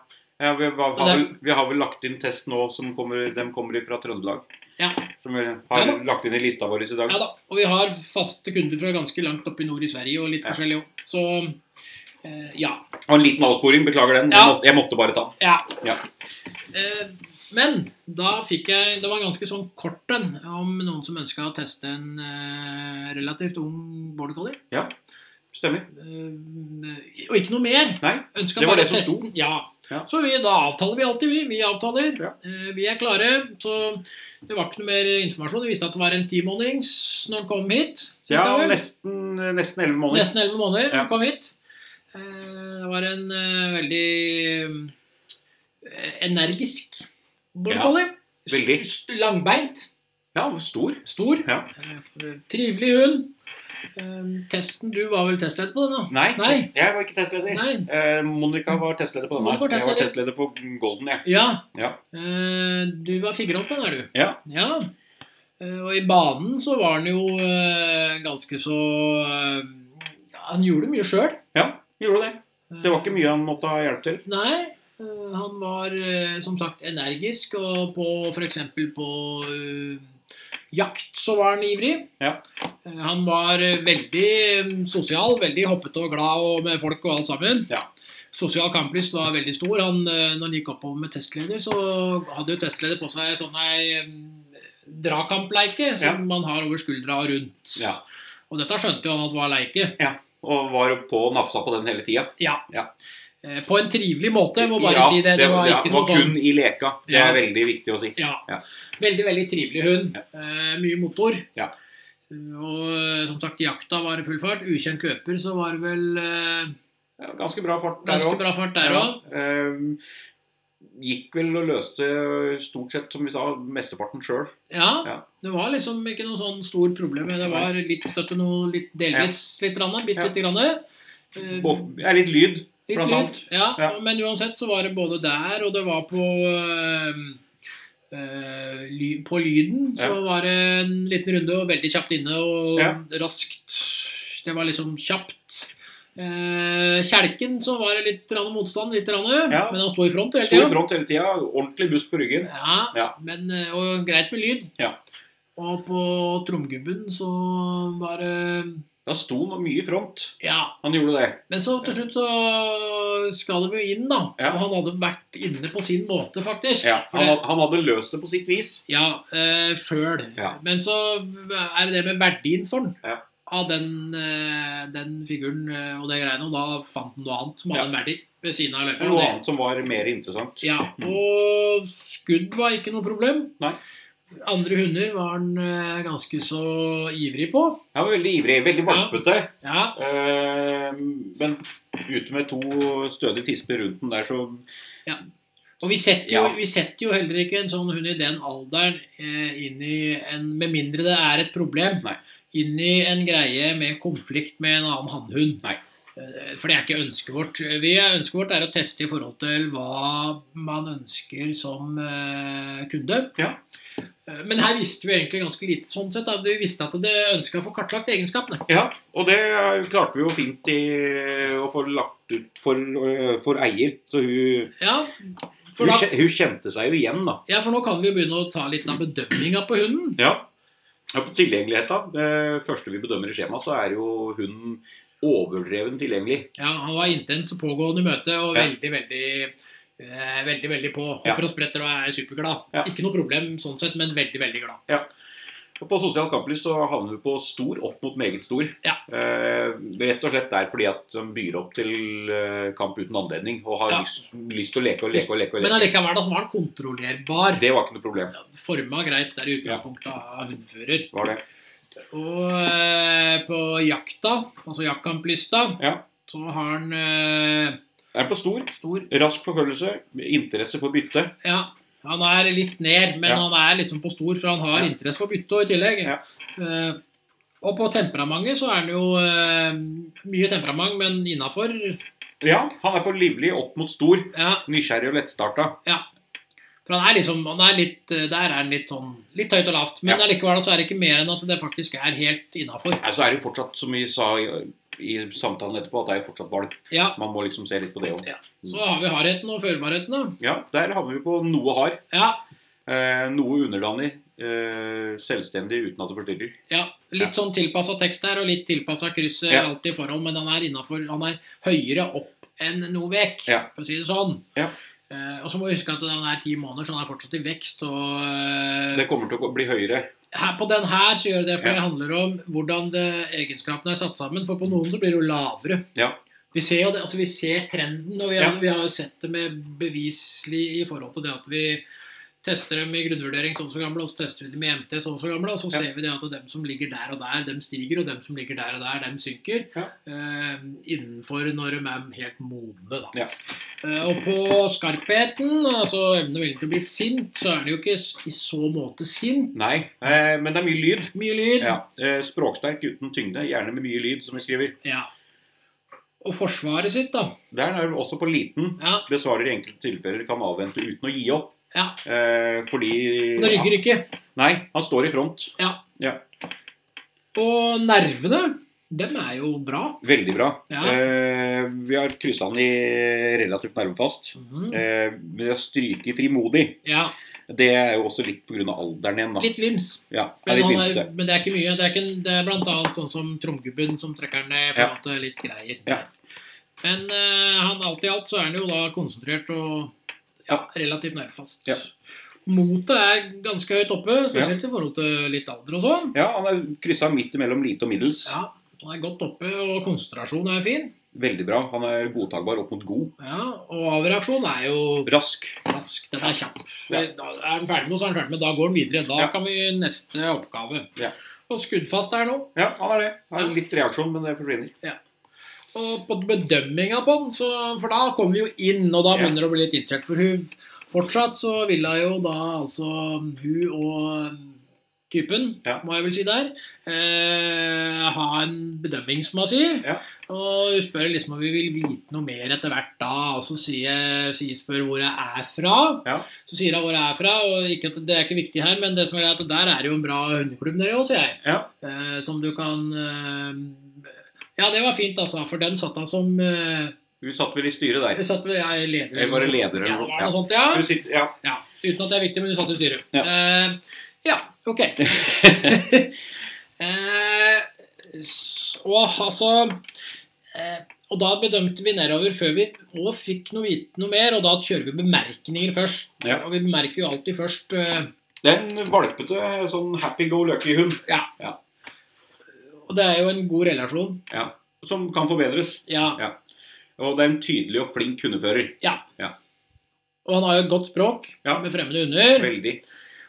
Speaker 1: Ja, vi, har
Speaker 2: det-
Speaker 1: vel, vi har vel lagt inn test nå som kommer, de kommer fra Trøndelag.
Speaker 2: Ja.
Speaker 1: Som vi
Speaker 2: Ja
Speaker 1: har
Speaker 2: da.
Speaker 1: lagt inn i lista vår i dag.
Speaker 2: Ja da, Og vi har faste kunder fra ganske langt oppe i nord i Sverige og litt
Speaker 1: Ja.
Speaker 2: forskjellig òg. Så eh, ja.
Speaker 1: Og en liten avsporing, beklager den.
Speaker 2: Ja.
Speaker 1: Jeg, måtte, jeg måtte bare ta den.
Speaker 2: ja.
Speaker 1: Ja.
Speaker 2: Eh, Men da fikk jeg Det var en ganske sånn kort en om noen som ønska å teste en eh, relativt ung border collie.
Speaker 1: Stemmer.
Speaker 2: Eh, Og ikke noe mer.
Speaker 1: Nei,
Speaker 2: Ønska
Speaker 1: det var
Speaker 2: bare
Speaker 1: det som
Speaker 2: testen. Ja.
Speaker 1: Ja.
Speaker 2: Så vi, da avtaler vi alltid, vi. Vi avtaler.
Speaker 1: Ja.
Speaker 2: Eh, Vi er klare. Så det var ikke noe mer informasjon. Vi visste at det var en timånedings når han kom hit.
Speaker 1: Ja,
Speaker 2: cirka vel.
Speaker 1: nesten, nesten 11 måneder.
Speaker 2: Nesten elleve måneder.
Speaker 1: Ja.
Speaker 2: Han kom hit. Eh, Det var en eh, veldig eh, energisk border
Speaker 1: Ja,
Speaker 2: collie.
Speaker 1: veldig.
Speaker 2: S- s- Langbeint.
Speaker 1: Ja, stor.
Speaker 2: Stor.
Speaker 1: Ja.
Speaker 2: Eh, f- Trivelig hund. Eh, Testen, Du var vel testleder på den, da?
Speaker 1: Nei,
Speaker 2: Nei.
Speaker 1: jeg var ikke testleder.
Speaker 2: Nei.
Speaker 1: Eh, Monica var testleder på denne.
Speaker 2: Monica var
Speaker 1: Jeg var
Speaker 2: testleder.
Speaker 1: testleder på Golden, jeg.
Speaker 2: Ja.
Speaker 1: Ja.
Speaker 2: Eh, Du var figurant på den, er du?
Speaker 1: Ja.
Speaker 2: Eh, Og i banen så var han jo eh, ganske så eh, ja, Han gjorde mye sjøl.
Speaker 1: Ja, gjorde det. Det var ikke mye han måtte ha hjelp til.
Speaker 2: Nei. eh, Han var eh, som sagt energisk, og på f.eks. på eh, jakt så var han ivrig.
Speaker 1: Ja.
Speaker 2: Eh, Han var eh, veldig eh, sosial, veldig hoppete og glad og med folk og alt sammen.
Speaker 1: Ja.
Speaker 2: Sosial kamplyst var veldig stor. Han, eh, når han gikk oppover med testleder, så hadde jo testleder på seg sånn ei eh, dragkampleike som man har over skuldra og rundt.
Speaker 1: Ja.
Speaker 2: Og dette skjønte jo han at var leike.
Speaker 1: Og var på og nafsa på den hele tida.
Speaker 2: Ja.
Speaker 1: Ja.
Speaker 2: Eh, På en trivelig måte, jeg må bare
Speaker 1: ja,
Speaker 2: si det. Det var
Speaker 1: ja,
Speaker 2: ikke noe
Speaker 1: kun
Speaker 2: sånn
Speaker 1: i leka. Det
Speaker 2: Ja.
Speaker 1: er veldig viktig å si.
Speaker 2: ja.
Speaker 1: Ja.
Speaker 2: Veldig, veldig trivelig hund. Eh, mye motor.
Speaker 1: Ja.
Speaker 2: Eh, Og eh, som sagt, jakta var i full fart. Ukjent løper, så var det vel eh,
Speaker 1: Ja, ganske bra fart der
Speaker 2: ganske
Speaker 1: òg.
Speaker 2: bra fart der òg.
Speaker 1: gikk vel og løste stort sett, som vi sa, mesteparten sjøl.
Speaker 2: Ja.
Speaker 1: Ja.
Speaker 2: Det var liksom ikke noe sånn stor problem. men Det var litt støtte noe litt delvis, litt grann, bitte
Speaker 1: Ja.
Speaker 2: lite grann. Eh,
Speaker 1: Det er litt lyd.
Speaker 2: Litt
Speaker 1: Blant
Speaker 2: lyd.
Speaker 1: annet.
Speaker 2: Ja,
Speaker 1: Ja.
Speaker 2: Men uansett så var det både der, og det var på øhm, øh, ly, På Lyden så
Speaker 1: Ja.
Speaker 2: var det en liten runde, og veldig kjapt inne og
Speaker 1: Ja.
Speaker 2: raskt. Det var liksom kjapt. Eh, kjelken så var det litt grann motstand, litt grann,
Speaker 1: Ja.
Speaker 2: men han sto i front hele
Speaker 1: Stor
Speaker 2: tida.
Speaker 1: front hele tida, ordentlig buss på ryggen.
Speaker 2: Ja,
Speaker 1: Ja.
Speaker 2: Men, eh, og greit med lyd.
Speaker 1: Ja.
Speaker 2: Og på tromgubben så var det
Speaker 1: Da sto han mye i front.
Speaker 2: Ja,
Speaker 1: Han gjorde det.
Speaker 2: Men så til slutt så skal de jo inn, da.
Speaker 1: Ja.
Speaker 2: Og han hadde vært inne på sin måte, faktisk.
Speaker 1: Ja,
Speaker 2: For
Speaker 1: han,
Speaker 2: det-
Speaker 1: had- han hadde løst det på sitt vis.
Speaker 2: ja, eh, sjøl.
Speaker 1: Ja.
Speaker 2: Men så er det det med verdien for den.
Speaker 1: Ja.
Speaker 2: Av den, eh, den figuren eh, og det greiene. Og da fant han noe annet som hadde
Speaker 1: Ja.
Speaker 2: en verdi ved siden av løpet.
Speaker 1: Det er
Speaker 2: og
Speaker 1: noe
Speaker 2: det-
Speaker 1: annet som var mer interessant.
Speaker 2: Ja, og skudd var ikke noe problem.
Speaker 1: Nei.
Speaker 2: Andre hunder var han eh, ganske så ivrig på.
Speaker 1: Han var veldig ivrig, veldig valpete.
Speaker 2: Ja,
Speaker 1: Eh, men ute med to stødige tisper rundt den der, så
Speaker 2: Og vi setter, jo,
Speaker 1: Ja.
Speaker 2: vi setter jo heller ikke en sånn hund i den alderen eh, inn i en Med mindre det er et problem.
Speaker 1: Nei.
Speaker 2: Inn i en greie med en konflikt med en annen hannhund.
Speaker 1: Nei.
Speaker 2: Eh, For det er ikke ønsket vårt. Vi er, ønsket vårt er å teste i forhold til hva man ønsker som eh, kunde.
Speaker 1: Ja.
Speaker 2: Eh, Men her visste vi egentlig ganske lite sånn sett. Da. Vi visste at det ønska å få kartlagt egenskapene.
Speaker 1: Ja, og det klarte vi jo fint i, å få lagt ut for, eh, for eier. Så hun,
Speaker 2: Ja, for,
Speaker 1: hun,
Speaker 2: da,
Speaker 1: kje- hun kjente seg jo igjen, da.
Speaker 2: ja, for nå kan vi jo begynne å ta litt av bedømminga på hunden.
Speaker 1: Ja. ja på tilgjengeligheta, det første vi bedømmer i skjemaet, så er jo hun overdreven tilgjengelig.
Speaker 2: Ja, han var intens og pågående i møte, og
Speaker 1: Ja.
Speaker 2: veldig, veldig, eh, veldig, veldig på.
Speaker 1: Ja.
Speaker 2: Hopper og spretter og er superglad.
Speaker 1: Ja.
Speaker 2: Ikke noe problem sånn sett, men veldig, veldig glad.
Speaker 1: Og På sosial kamplys så havner vi på stor opp mot meget stor.
Speaker 2: Ja.
Speaker 1: Eh, rett og slett der fordi at de byr opp til eh, kamp uten anledning og har
Speaker 2: Ja.
Speaker 1: lyst, lyst til å leke og leke og leke. og
Speaker 2: Men
Speaker 1: leke.
Speaker 2: allikevel da, så var han kontrollerbar.
Speaker 1: Det var ikke noe problem.
Speaker 2: Forma greit der i utgangspunktet av hundfører.
Speaker 1: Var det.
Speaker 2: Og eh, på jakta, altså jaktkamplista,
Speaker 1: Ja.
Speaker 2: så har han eh,
Speaker 1: Er på stor.
Speaker 2: stor
Speaker 1: Rask forfølgelse. Interesse for bytte.
Speaker 2: Ja. Han er litt ned, men
Speaker 1: Ja.
Speaker 2: han er liksom på stor, for han har
Speaker 1: Ja.
Speaker 2: interesse for bytte i tillegg.
Speaker 1: Ja.
Speaker 2: Eh, og på temperamentet så er han jo eh, mye temperament, men innafor.
Speaker 1: Ja, han er på livlig opp mot stor.
Speaker 2: Ja,
Speaker 1: Nysgjerrig og lettstarta.
Speaker 2: for han er liksom han er litt, eh, Der er han litt sånn litt høyt og lavt, men
Speaker 1: Ja.
Speaker 2: allikevel så er det ikke mer enn at det faktisk er helt innafor.
Speaker 1: Nei, Så er det jo fortsatt, som vi sa i, i samtalen etterpå, at det er jo fortsatt valg.
Speaker 2: Ja.
Speaker 1: Man må liksom se litt på det òg.
Speaker 2: Ja. Så har vi hardheten og førbarheten, da.
Speaker 1: Ja, der havner vi på noe hard.
Speaker 2: Ja,
Speaker 1: Eh, noe underdanig. Eh, selvstendig uten at det forstyrrer.
Speaker 2: ja. Litt sånn tilpassa tekst her, og litt tilpassa krysset
Speaker 1: Ja.
Speaker 2: alltid i forhold, men han er innafor. Han er høyere opp enn noe vekk,
Speaker 1: Ja.
Speaker 2: for å si det sånn.
Speaker 1: Ja.
Speaker 2: Eh, og så må vi huske at den er ti måneder, så den er fortsatt i vekst. Og eh,
Speaker 1: Det kommer til å bli høyere.
Speaker 2: her, på den her så gjør det det, for
Speaker 1: Ja. Mm.
Speaker 2: det handler om hvordan det, egenskapene er satt sammen. For på noen så blir det jo lavere.
Speaker 1: Ja.
Speaker 2: Vi ser jo det, altså vi ser trenden, og vi, har-
Speaker 1: Ja.
Speaker 2: vi har jo sett det med beviselig i forhold til det at vi tester dem i grunnvurdering sånn som gamle, og så tester vi dem i MT sånn som gamle, og så
Speaker 1: Ja.
Speaker 2: ser vi det at dem som ligger der og der, dem stiger, og dem som ligger der og der, dem synker.
Speaker 1: Ja.
Speaker 2: eh, innenfor når de er helt modne, da.
Speaker 1: Ja.
Speaker 2: Eh, og på skarpheten, altså evnen og viljen til å bli sint, så er det jo ikke s- i så måte sint.
Speaker 1: Nei, eh, men det er mye lyd.
Speaker 2: Mye lyd.
Speaker 1: Ja. Eh, språksterk uten tyngde, gjerne med mye lyd, som vi skriver.
Speaker 2: Ja. Og forsvaret sitt, da.
Speaker 1: Der er vi også på liten.
Speaker 2: Ja.
Speaker 1: Besvarer i enkelte tilfeller kan avvente uten å gi opp.
Speaker 2: ja.
Speaker 1: Eh, fordi
Speaker 2: Det rygger ikke.
Speaker 1: Nei, han står i front.
Speaker 2: Og nervene, dem er jo bra.
Speaker 1: Veldig bra.
Speaker 2: Ja.
Speaker 1: Eh, vi har kryssa han i relativt nærmefast.
Speaker 2: Mhm.
Speaker 1: Eh, men å stryke frimodig,
Speaker 2: Ja.
Speaker 1: det er jo også litt pga. alderen igjen, da.
Speaker 2: Litt vims.
Speaker 1: Ja, det er
Speaker 2: Men,
Speaker 1: litt
Speaker 2: han
Speaker 1: vimsete.
Speaker 2: er, men det er ikke mye. Det er, ikke, en- det er blant annet sånn som tromgubben som trekker den ned i forhold til litt greier.
Speaker 1: Ja.
Speaker 2: Men eh, han alt i alt så er han jo da konsentrert og ja, relativt nærfast.
Speaker 1: Ja.
Speaker 2: Motet er ganske høyt oppe, spesielt i forhold til litt alder og sånn.
Speaker 1: Ja, han er kryssa midt imellom lite og middels.
Speaker 2: Ja, han er godt oppe, og konsentrasjon er fin.
Speaker 1: Veldig bra. Han er godtakbar opp mot god.
Speaker 2: Ja, og avreaksjon er jo
Speaker 1: Rask.
Speaker 2: rask. Den er kjapp.
Speaker 1: Ja.
Speaker 2: Da er han ferdig med noe, så er han ferdig med Da går han videre. Da
Speaker 1: Ja.
Speaker 2: kan vi neste oppgave.
Speaker 1: Ja.
Speaker 2: Og skuddfast er nå.
Speaker 1: Ja, han er det. Han
Speaker 2: Ja.
Speaker 1: er litt reaksjon, men det forsvinner.
Speaker 2: Og på bedømminga på den, så, for da kommer vi jo inn, og da
Speaker 1: Ja.
Speaker 2: begynner det å bli litt inntjent. For hun fortsatt så ville jo da altså hun og typen,
Speaker 1: Ja.
Speaker 2: må jeg vel si der. Eh, ha en bedømming, som man sier.
Speaker 1: Ja.
Speaker 2: Og hun spør liksom om vi vil vite noe mer etter hvert da. Og så sier, jeg- sier, spør hvor jeg er fra.
Speaker 1: Ja.
Speaker 2: Så sier hun hvor jeg er fra, og ikke at det er ikke viktig her, men det som er greit, at der er det jo en bra hundeklubb nede òg, sier jeg.
Speaker 1: Ja.
Speaker 2: Eh, som du kan eh, Ja, det var fint, altså, for den satt han som eh,
Speaker 1: Hun satt vel i styret der.
Speaker 2: Satt vel jeg leder
Speaker 1: Jeg var leder,
Speaker 2: Ja,
Speaker 1: eller
Speaker 2: det
Speaker 1: noe.
Speaker 2: var
Speaker 1: Ja.
Speaker 2: noe sånt, ja.
Speaker 1: Hun sitter, ja.
Speaker 2: Ja, Uten at det er viktig, men du satt i styret.
Speaker 1: Ja.
Speaker 2: Eh, ja, ok. eh, s- og altså eh, Og da bedømte vi nedover før vi òg fikk noe vite noe mer, og da kjører vi bemerkninger først.
Speaker 1: Ja.
Speaker 2: Og vi bemerker jo alltid først eh,
Speaker 1: Det er en valpete, sånn happy-go-lucky-hund
Speaker 2: Og det er jo en god relasjon.
Speaker 1: som kan forbedres.
Speaker 2: Ja.
Speaker 1: Og det er en tydelig og flink hundefører.
Speaker 2: Og han har jo et godt språk
Speaker 1: Ja.
Speaker 2: med fremmede hunder.
Speaker 1: Veldig.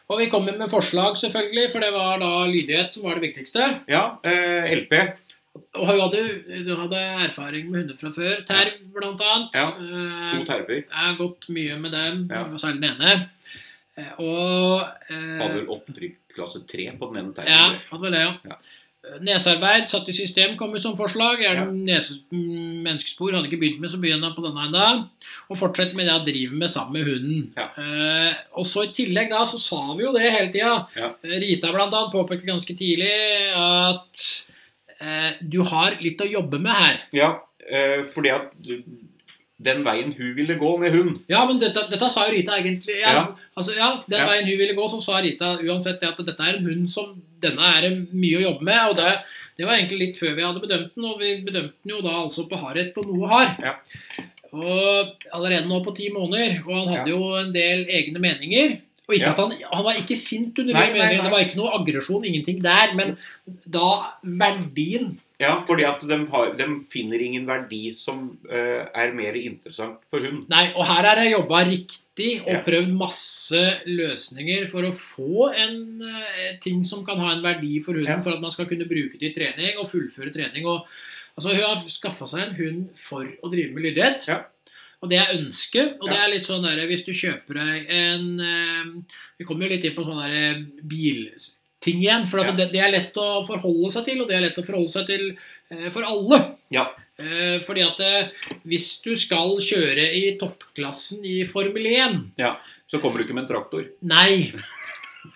Speaker 2: Og vi kommer med forslag, selvfølgelig, for det var da lydighet som var det viktigste.
Speaker 1: Ja, eh, LP.
Speaker 2: Og hun hadde, hun hadde erfaring med hunder fra før. Terv, blant annet.
Speaker 1: Ja.
Speaker 2: Eh,
Speaker 1: To terper.
Speaker 2: Jeg har gått mye med dem,
Speaker 1: Ja.
Speaker 2: særlig den ene. Eh, Og eh,
Speaker 1: Hadde vel opptrykk klasse 3 på den ene terpen.
Speaker 2: ja, hadde vel det, ja.
Speaker 1: Ja.
Speaker 2: Eh, Nesearbeid satt i system kom jo som forslag. Er det
Speaker 1: Ja.
Speaker 2: nese, mm, menneskespor hadde ikke begynt med, så begynner han på denne enda. Og fortsetter med det han driver med sammen med hunden.
Speaker 1: Ja.
Speaker 2: Eh, og så i tillegg da, så sa vi jo det hele tida.
Speaker 1: Ja.
Speaker 2: Eh, Rita blant annet påpeker ganske tidlig at eh, du har litt å jobbe med her.
Speaker 1: Ja, eh, fordi at du- den veien hun ville gå med hund
Speaker 2: Ja, men dette, dette sa jo Rita egentlig. Jeg,
Speaker 1: Ja.
Speaker 2: Altså, ja, Den
Speaker 1: Ja.
Speaker 2: veien hun ville gå, så sa Rita uansett det at dette er en hund som denne er det mye å jobbe med. Og det, det var egentlig litt før vi hadde bedømt den, og vi bedømte den jo da altså på hardhet på noe hard.
Speaker 1: Ja.
Speaker 2: Og allerede nå på ti måneder, og han hadde jo en del egne meninger. Og ikke
Speaker 1: Ja.
Speaker 2: at han, han var ikke sint under
Speaker 1: Nei,
Speaker 2: de
Speaker 1: nei,
Speaker 2: meningene,
Speaker 1: nei.
Speaker 2: det var ikke noe aggresjon, ingenting der. Men da verdien
Speaker 1: Ja, fordi at de, har, de finner ingen verdi som eh, er mer interessant for hund.
Speaker 2: Nei, og her er det jobba riktig og
Speaker 1: Ja.
Speaker 2: prøvd masse løsninger for å få en eh, ting som kan ha en verdi for hunden,
Speaker 1: Ja.
Speaker 2: for at man skal kunne bruke det i trening og fullføre trening. Og, altså, hun har skaffa seg en hund for å drive med lydighet.
Speaker 1: Ja.
Speaker 2: Og det er ønsket. Og det
Speaker 1: Ja.
Speaker 2: er litt sånn der hvis du kjøper deg en eh, Vi kommer jo litt inn på sånn der eh, bilting igjen. For
Speaker 1: Ja.
Speaker 2: at det, det er lett å forholde seg til, og det er lett å forholde seg til eh, for alle.
Speaker 1: Ja.
Speaker 2: Eh, fordi at eh, hvis du skal kjøre i toppklassen i Formel 1
Speaker 1: Så kommer du ikke med en traktor.
Speaker 2: Nei.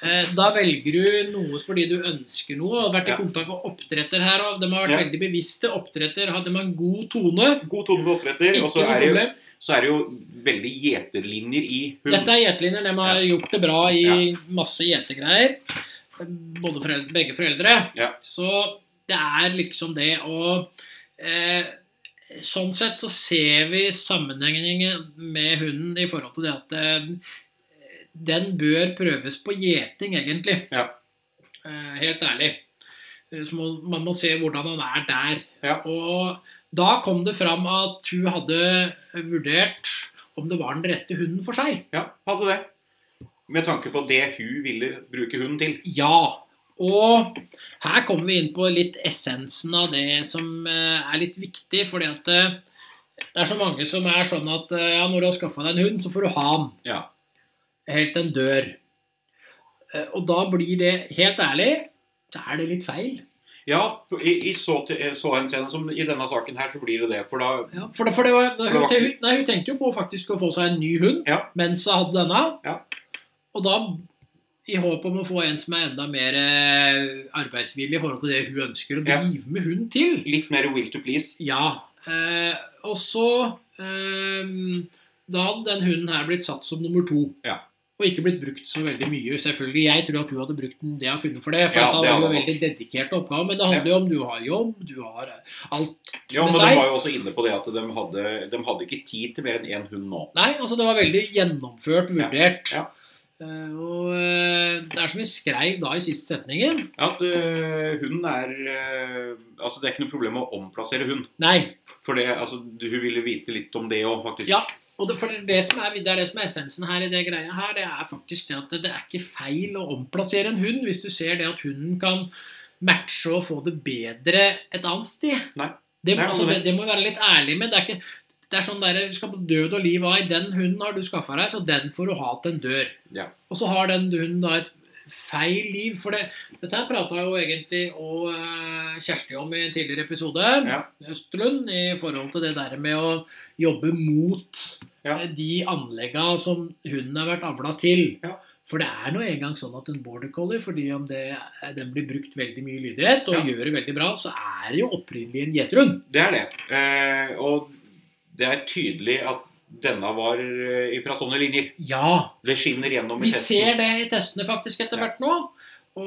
Speaker 2: Eh, Da velger du noe fordi du ønsker noe. Jeg har vært i
Speaker 1: Ja.
Speaker 2: kontakt med oppdretter her og De har vært
Speaker 1: Ja.
Speaker 2: veldig bevisste. Oppdretter hadde man god tone.
Speaker 1: God tone med oppdretter, og
Speaker 2: Ikke
Speaker 1: så
Speaker 2: noe
Speaker 1: er, det,
Speaker 2: problem.
Speaker 1: jo- så er det jo veldig gjeterlinjer i hund.
Speaker 2: Dette er gjeterlinjer. De har gjort det bra i
Speaker 1: Ja.
Speaker 2: masse gjetergreier. Både foreldre, begge foreldre.
Speaker 1: Ja.
Speaker 2: Så det er liksom det å eh, Sånn sett så ser vi sammenhengen med hunden i forhold til det at eh, den bør prøves på gjeting, egentlig.
Speaker 1: Ja.
Speaker 2: Eh, helt ærlig. Eh, Så må, man må se hvordan han er der.
Speaker 1: Ja.
Speaker 2: Og da kom det fram at hun hadde vurdert om det var den rette hunden for seg.
Speaker 1: Ja, hadde det. Med tanke på det hun ville bruke hunden til.
Speaker 2: Ja. Og her kommer vi inn på litt essensen av det som eh, er litt viktig. fordi at eh, det er så mange som er sånn at eh, ja, når du har skaffa deg en hund, så får du ha den
Speaker 1: Ja.
Speaker 2: helt til den dør. Eh, Og da blir det, helt ærlig, da er det litt feil.
Speaker 1: Ja, i, i så, til- eh, så en scene som i denne saken her, så blir det det. For da
Speaker 2: Ja, for det, for det var,
Speaker 1: det
Speaker 2: hun,
Speaker 1: var ikke-
Speaker 2: hun- nei, hun tenkte jo på faktisk å få seg en ny hund
Speaker 1: Ja.
Speaker 2: mens hun hadde denne.
Speaker 1: Ja.
Speaker 2: Og da, i håp om å få en som er enda mer eh, arbeidsvillig i forhold til det hun ønsker å
Speaker 1: Ja.
Speaker 2: drive med hund til.
Speaker 1: Litt mer will to please.
Speaker 2: Ja. Eh, og så eh, Da hadde den hunden her blitt satt som nummer to.
Speaker 1: Ja.
Speaker 2: Og ikke blitt brukt så veldig mye. Selvfølgelig, Jeg tror at hun hadde brukt den det hun kunne for det. For
Speaker 1: Ja,
Speaker 2: at
Speaker 1: det
Speaker 2: han var jo
Speaker 1: hadde
Speaker 2: veldig dedikert til oppgaven. Men det handler jo om du har jobb, du har alt
Speaker 1: Ja,
Speaker 2: med
Speaker 1: men
Speaker 2: seg.
Speaker 1: de var jo også inne på det at de hadde, de hadde ikke tid til mer enn én hund nå.
Speaker 2: Nei, altså det var veldig gjennomført, vurdert.
Speaker 1: ja.
Speaker 2: Eh, og eh, det er som vi skrev da i siste setningen.
Speaker 1: At øh, hunden er øh, Altså, det er ikke noe problem å omplassere hund.
Speaker 2: Nei.
Speaker 1: For det, altså, du- hun ville vite litt om det òg, faktisk.
Speaker 2: Ja. Og det, for det, som er, det er det som er essensen her i det greia her, det er faktisk det at det, det er ikke feil å omplassere en hund hvis du ser det at hunden kan matche og få det bedre et annet sted.
Speaker 1: Nei. Det er
Speaker 2: Det,
Speaker 1: noe
Speaker 2: altså, det,
Speaker 1: med
Speaker 2: det må vi være litt ærlig med. Det er, ikke, det er sånn der, du skal på død og liv av. Den hunden har du skaffa deg, så den får du ha til en dør.
Speaker 1: Ja.
Speaker 2: Og så har den hunden da et feil liv. For det, dette her prata jo egentlig og eh, Kjersti om i en tidligere episode,
Speaker 1: Ja.
Speaker 2: Østlund, i forhold til det der med å jobbe mot
Speaker 1: Ja.
Speaker 2: eh, de anlegga som hunden har vært avla til.
Speaker 1: Ja.
Speaker 2: For det er nå engang sånn at en border collie, fordi om det, den blir brukt veldig mye lydighet og
Speaker 1: Ja.
Speaker 2: gjør det veldig bra, så er det jo opprinnelig en gjeterhund.
Speaker 1: Det er det. Eh, og det er tydelig at denne var eh, fra sånne linjer.
Speaker 2: Ja,
Speaker 1: Det skinner gjennom i
Speaker 2: Vi
Speaker 1: testen.
Speaker 2: ser det i testene faktisk etter
Speaker 1: Ja.
Speaker 2: hvert nå.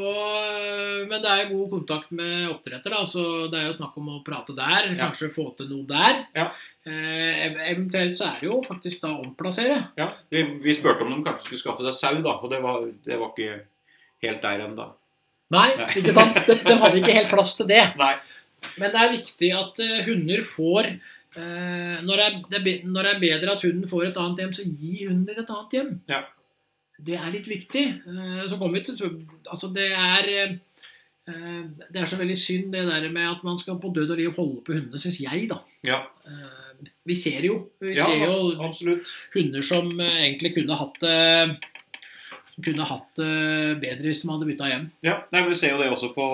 Speaker 2: Og, men det er jo god kontakt med oppdretter, da, så det er jo snakk om å prate der.
Speaker 1: Ja.
Speaker 2: Kanskje få til noe der.
Speaker 1: Ja.
Speaker 2: Eh, ev- eventuelt så er det jo faktisk da å omplassere.
Speaker 1: Ja, vi, vi spurte om de kanskje skulle skaffe seg sau, da, og det var, det var ikke helt der ennå.
Speaker 2: Nei,
Speaker 1: Nei.
Speaker 2: ikke sant? De, de hadde ikke helt plass til det.
Speaker 1: Nei.
Speaker 2: Men det er viktig at eh, hunder får eh, når, det er, det er be- når det er bedre at hunden får et annet hjem, så gi hunden din et annet hjem.
Speaker 1: Ja.
Speaker 2: Det er litt viktig. Eh, så kommer vi til så- Altså, det er eh, eh, Det er så veldig synd det der med at man skal på død og liv holde på hundene, syns jeg, da.
Speaker 1: Ja,
Speaker 2: Eh, vi ser jo. Vi
Speaker 1: ja
Speaker 2: ser jo
Speaker 1: absolutt.
Speaker 2: hunder som eh, egentlig kunne hatt det som kunne hatt det bedre hvis de hadde bytta hjem.
Speaker 1: Ja, nei, men Vi ser jo det også på,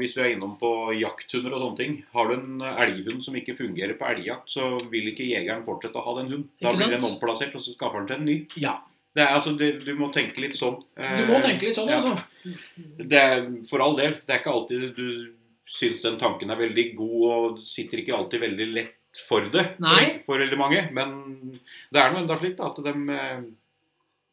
Speaker 1: hvis vi er innom på jakthunder og sånne ting. Har du en elghund som ikke fungerer på elgjakt, så vil ikke jegeren fortsette å ha den hunden. Da
Speaker 2: Ikke
Speaker 1: blir
Speaker 2: sant?
Speaker 1: den omplassert, og så skaffer han seg en ny.
Speaker 2: Ja.
Speaker 1: Det er, altså, det, du må tenke litt sånn. Eh,
Speaker 2: Du må tenke litt sånn,
Speaker 1: ja.
Speaker 2: altså.
Speaker 1: Det er, for all del. Det er ikke alltid du syns den tanken er veldig god, og sitter ikke alltid veldig lett for det
Speaker 2: Nei.
Speaker 1: for veldig mange. Men det er nå enda slik da, at de,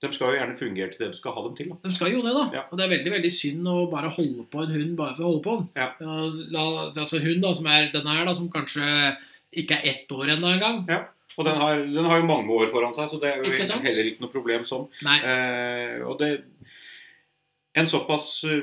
Speaker 1: de skal jo gjerne fungere til det du skal ha dem til. Da.
Speaker 2: De skal jo det, da.
Speaker 1: Ja.
Speaker 2: Og det er veldig veldig synd å bare holde på en hund bare for å holde på den.
Speaker 1: Ja.
Speaker 2: La, altså en hund da, som er den her, da, som kanskje ikke er ett år ennå engang.
Speaker 1: Og den har, den har jo mange år foran seg, så det er jo
Speaker 2: Ikke sant?
Speaker 1: heller ikke noe problem sånn.
Speaker 2: Nei.
Speaker 1: Eh, og det En såpass eh,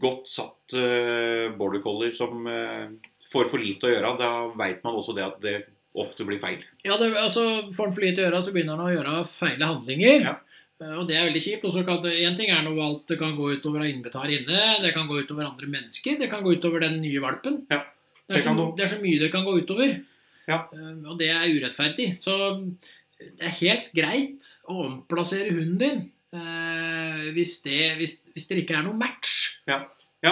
Speaker 1: godt satt eh, border collie som eh, får for lite å gjøre, da veit man også det at det ofte blir feil.
Speaker 2: Ja, det, altså Får han for lite å gjøre, så begynner han å gjøre feile handlinger.
Speaker 1: Ja.
Speaker 2: Eh, Og det er veldig kjipt. Og så kan det, en ting er noe alt det kan gå utover å innbeta her inne. Det kan gå utover andre mennesker. Det kan gå utover den nye valpen.
Speaker 1: Ja,
Speaker 2: Det, er
Speaker 1: det kan
Speaker 2: så,
Speaker 1: det.
Speaker 2: det er så mye det kan gå utover.
Speaker 1: Ja.
Speaker 2: Eh, Og det er urettferdig. Så det er helt greit å omplassere hunden din eh, hvis, det, hvis, hvis det ikke er noe match.
Speaker 1: Ja,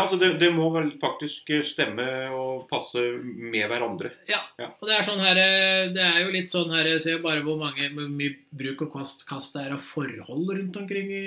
Speaker 1: altså det, det må vel faktisk eh, stemme og passe med hverandre.
Speaker 2: Og det er sånn her eh, Det er jo litt sånn her Jeg ser bare hvor mange hvor mye bruk og kast, kast det er av forhold rundt omkring i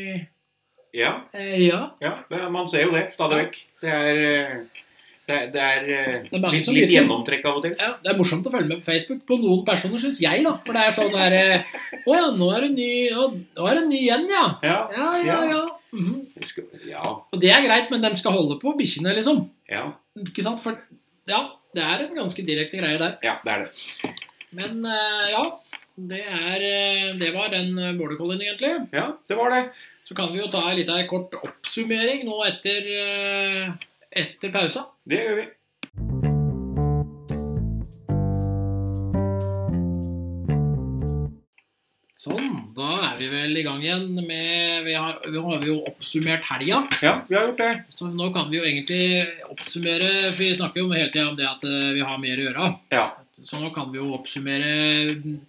Speaker 1: Ja,
Speaker 2: eh, Ja.
Speaker 1: ja det- man ser jo det stadig vekk. Det er, eh, det, er- det er, eh,
Speaker 2: Det er mange
Speaker 1: litt,
Speaker 2: som
Speaker 1: litt
Speaker 2: lytter.
Speaker 1: gjennomtrekk av og til.
Speaker 2: Ja, det er morsomt å følge med på Facebook på noen personer, syns jeg, da. For det er sånn her eh, Å ja, nå er det ny å, Nå er det ny igjen, ja.
Speaker 1: Ja,
Speaker 2: Ja, ja, ja. Mhm.
Speaker 1: vi skal- ja,
Speaker 2: Og det er greit, men de skal holde på bikkjene, liksom.
Speaker 1: ja,
Speaker 2: Ikke sant? For ja, det er en ganske direkte greie der.
Speaker 1: ja, det er det.
Speaker 2: Men eh, ja, det, er, eh, det var den eh, border collien, egentlig.
Speaker 1: Ja, det var det.
Speaker 2: Så kan vi jo ta en liten kort oppsummering nå etter, eh, etter pausa.
Speaker 1: Det gjør vi.
Speaker 2: Sånn, da er vi vel i gang igjen med Vi har, vi har jo oppsummert helga.
Speaker 1: Ja, vi har gjort det.
Speaker 2: Så nå kan vi jo egentlig oppsummere, for vi snakker jo hele tida om det at eh, vi har mer å gjøre.
Speaker 1: Ja,
Speaker 2: Så nå kan vi jo oppsummere mm,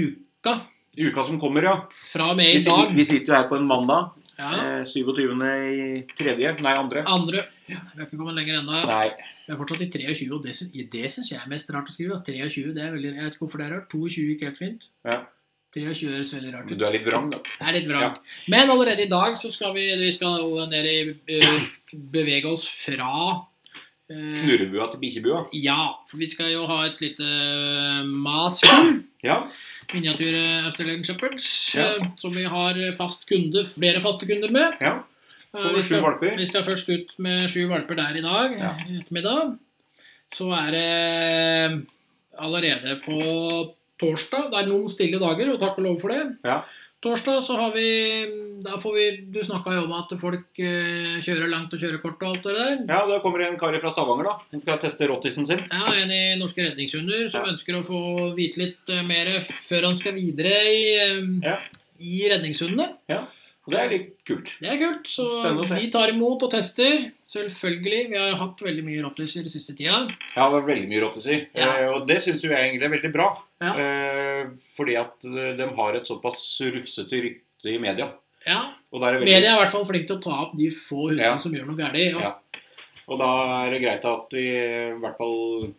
Speaker 2: uka
Speaker 1: Uka som kommer, ja.
Speaker 2: fra og med
Speaker 1: Vi
Speaker 2: i
Speaker 1: sitter,
Speaker 2: dag.
Speaker 1: vi sitter jo her på en mandag.
Speaker 2: Ja,
Speaker 1: Eh, 27. i tredje. Nei, andre.
Speaker 2: andre. Vi har ikke kommet lenger ennå.
Speaker 1: Nei.
Speaker 2: Vi er fortsatt i 23, og det syns, det syns jeg er mest rart å skrive. at 23, det er veldig, Jeg vet ikke hvorfor det er rart. 22 gikk helt fint.
Speaker 1: Ja.
Speaker 2: 23 høres veldig rart
Speaker 1: men
Speaker 2: ut.
Speaker 1: Du er litt vrang, da.
Speaker 2: Det er litt vrang. Men allerede i dag så skal vi, vi skal ned i, eh, bevege oss fra eh,
Speaker 1: Knurrebua til bikkjebua.
Speaker 2: Ja, for vi skal jo ha et lite master.
Speaker 1: Ja.
Speaker 2: Miniatyr eh, Australian Shepherds.
Speaker 1: Ja.
Speaker 2: eh, Som vi har fast kunde, flere faste kunder med.
Speaker 1: ja.
Speaker 2: Eh,
Speaker 1: Kommer
Speaker 2: Vi
Speaker 1: sju
Speaker 2: skal,
Speaker 1: valper.
Speaker 2: vi skal først ut med sju valper der i dag
Speaker 1: Ja.
Speaker 2: i ettermiddag. Så er det eh, allerede på torsdag Det er noen stille dager, og takk og lov for det.
Speaker 1: Ja.
Speaker 2: Torsdag så har vi Da får vi Du snakka jo om at folk eh, kjører langt og kjører kort og alt det der.
Speaker 1: Ja, da kommer det en kar fra Stavanger, da. Som skal teste rottisen sin.
Speaker 2: Ja, en i Norske Redningshunder som
Speaker 1: Ja.
Speaker 2: ønsker å få vite litt eh, mer før han skal videre i, eh,
Speaker 1: Ja.
Speaker 2: i redningshundene.
Speaker 1: Og det er litt kult.
Speaker 2: Det er kult, så
Speaker 1: Spennende å se.
Speaker 2: vi tar imot og tester. Selvfølgelig. Vi har hatt veldig mye rottiser den siste tida.
Speaker 1: Ja, det var veldig mye rottiser.
Speaker 2: Ja.
Speaker 1: Eh, og det syns jo jeg egentlig er veldig bra.
Speaker 2: Ja.
Speaker 1: Eh, fordi at eh, de har et såpass rufsete rykte i media.
Speaker 2: Ja,
Speaker 1: Og da er det veldig...
Speaker 2: Media er i hvert fall flink til å ta opp de få hundene
Speaker 1: Ja.
Speaker 2: som gjør noe galt. Og,
Speaker 1: Ja. Og da er det greit at vi i hvert fall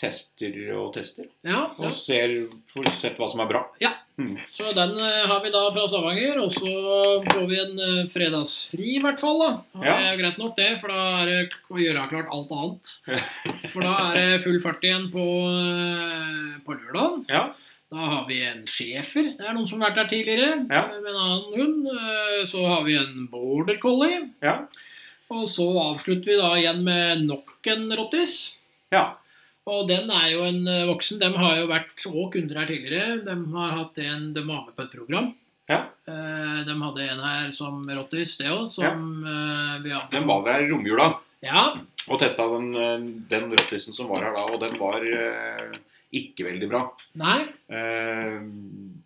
Speaker 1: tester og tester.
Speaker 2: ja,
Speaker 1: Og
Speaker 2: ja.
Speaker 1: ser, får sett hva som er bra.
Speaker 2: Så den eh, har vi da fra Stavanger. Og så får vi en eh, fredagsfri, i hvert fall. da. Og
Speaker 1: Ja.
Speaker 2: Det er greit nok, det, for da er det k- å gjøre klart alt annet. For da er det full fart igjen på, eh, på lørdagen.
Speaker 1: Ja.
Speaker 2: Da har vi en schæfer. Det er noen som har vært der tidligere
Speaker 1: Ja.
Speaker 2: eh, med en annen hund. Eh, Så har vi en border collie.
Speaker 1: Ja.
Speaker 2: Og så avslutter vi da igjen med nok en rottis.
Speaker 1: ja.
Speaker 2: Og den er jo en eh, voksen. De har jo vært òg kunder her tidligere. De har hatt en de var med på et program.
Speaker 1: Ja.
Speaker 2: Eh, De hadde en her som rottis, det òg, som eh, vi hadde.
Speaker 1: Den var vel her i romjula
Speaker 2: Ja,
Speaker 1: og testa den, eh, den rottisen som var her da, og den var eh, ikke veldig bra.
Speaker 2: nei.
Speaker 1: Eh,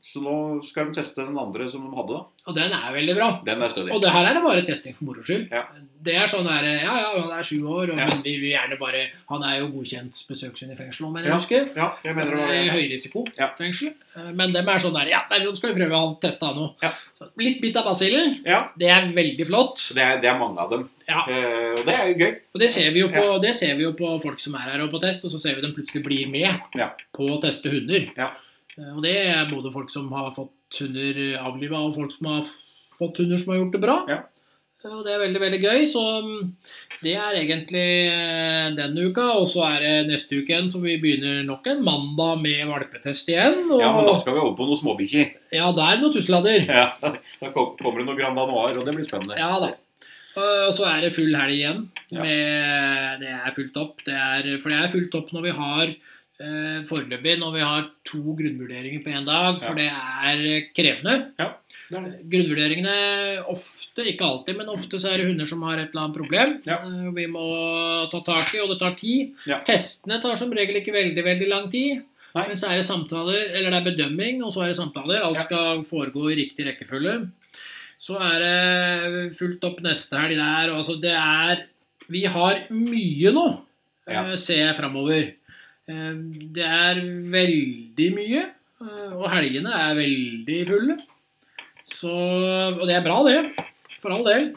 Speaker 1: så nå skal de teste den andre som de hadde. da.
Speaker 2: Og den er veldig bra.
Speaker 1: Den er stødig.
Speaker 2: Og det her er det bare testing for moro skyld.
Speaker 1: Ja.
Speaker 2: Det er sånn der, Ja, ja, han er sju år, og,
Speaker 1: Ja.
Speaker 2: men vi vil gjerne bare Han er jo godkjent besøkssyn i fengsel, om jeg
Speaker 1: Ja.
Speaker 2: husker.
Speaker 1: Ja, jeg mener det var
Speaker 2: Eh,
Speaker 1: det.
Speaker 2: Høyrisiko,
Speaker 1: Ja.
Speaker 2: fengsel. Eh, Men dem er sånn der Ja, nei, nå skal vi prøve han teste han nå.
Speaker 1: Ja.
Speaker 2: Så Litt bit av basillen.
Speaker 1: Ja,
Speaker 2: Det er veldig flott.
Speaker 1: så det er, det er mange av dem.
Speaker 2: Ja.
Speaker 1: Eh, og det er jo gøy.
Speaker 2: Og det ser, vi jo på, det ser vi jo på folk som er her og på test, og så ser vi dem plutselig blir med
Speaker 1: Ja.
Speaker 2: på å teste hunder.
Speaker 1: Ja.
Speaker 2: Eh, Og det er både folk som har fått hunder avliva, og folk som har f- fått hunder som har gjort det bra.
Speaker 1: Ja.
Speaker 2: Eh, Og det er veldig, veldig gøy. Så mm, det er egentlig eh, denne uka. Og så er det neste uke igjen, så vi begynner nok en mandag med valpetest igjen. Og
Speaker 1: Ja,
Speaker 2: ja,
Speaker 1: men da skal vi over på noen småbikkjer.
Speaker 2: da er det noen tusselader.
Speaker 1: Ja, da kom- kommer det noen Grand Danois, og det blir spennende.
Speaker 2: Ja da. Og så er det full helg igjen.
Speaker 1: Ja.
Speaker 2: Med, det er fullt opp. Det er, for det er fullt opp når vi har eh, foreløpig når vi har to grunnvurderinger på én dag, for det er krevende.
Speaker 1: Det er det.
Speaker 2: Grunnvurderingene ofte, ikke alltid, men ofte så er det hunder som har et eller annet problem.
Speaker 1: Ja.
Speaker 2: Eh, Vi må ta tak i, og det tar tid.
Speaker 1: Ja.
Speaker 2: Testene tar som regel ikke veldig veldig lang tid.
Speaker 1: Nei.
Speaker 2: Men så er det samtaler, eller det er bedømming, og så er det samtaler. Alt
Speaker 1: Ja.
Speaker 2: skal foregå i riktig rekkefølge. Så er det fullt opp neste helg der. og Altså, det er Vi har mye nå,
Speaker 1: Ja.
Speaker 2: eh, ser jeg framover. Eh, Det er veldig mye, eh, og helgene er veldig fulle. Så, og det er bra, det. For all del.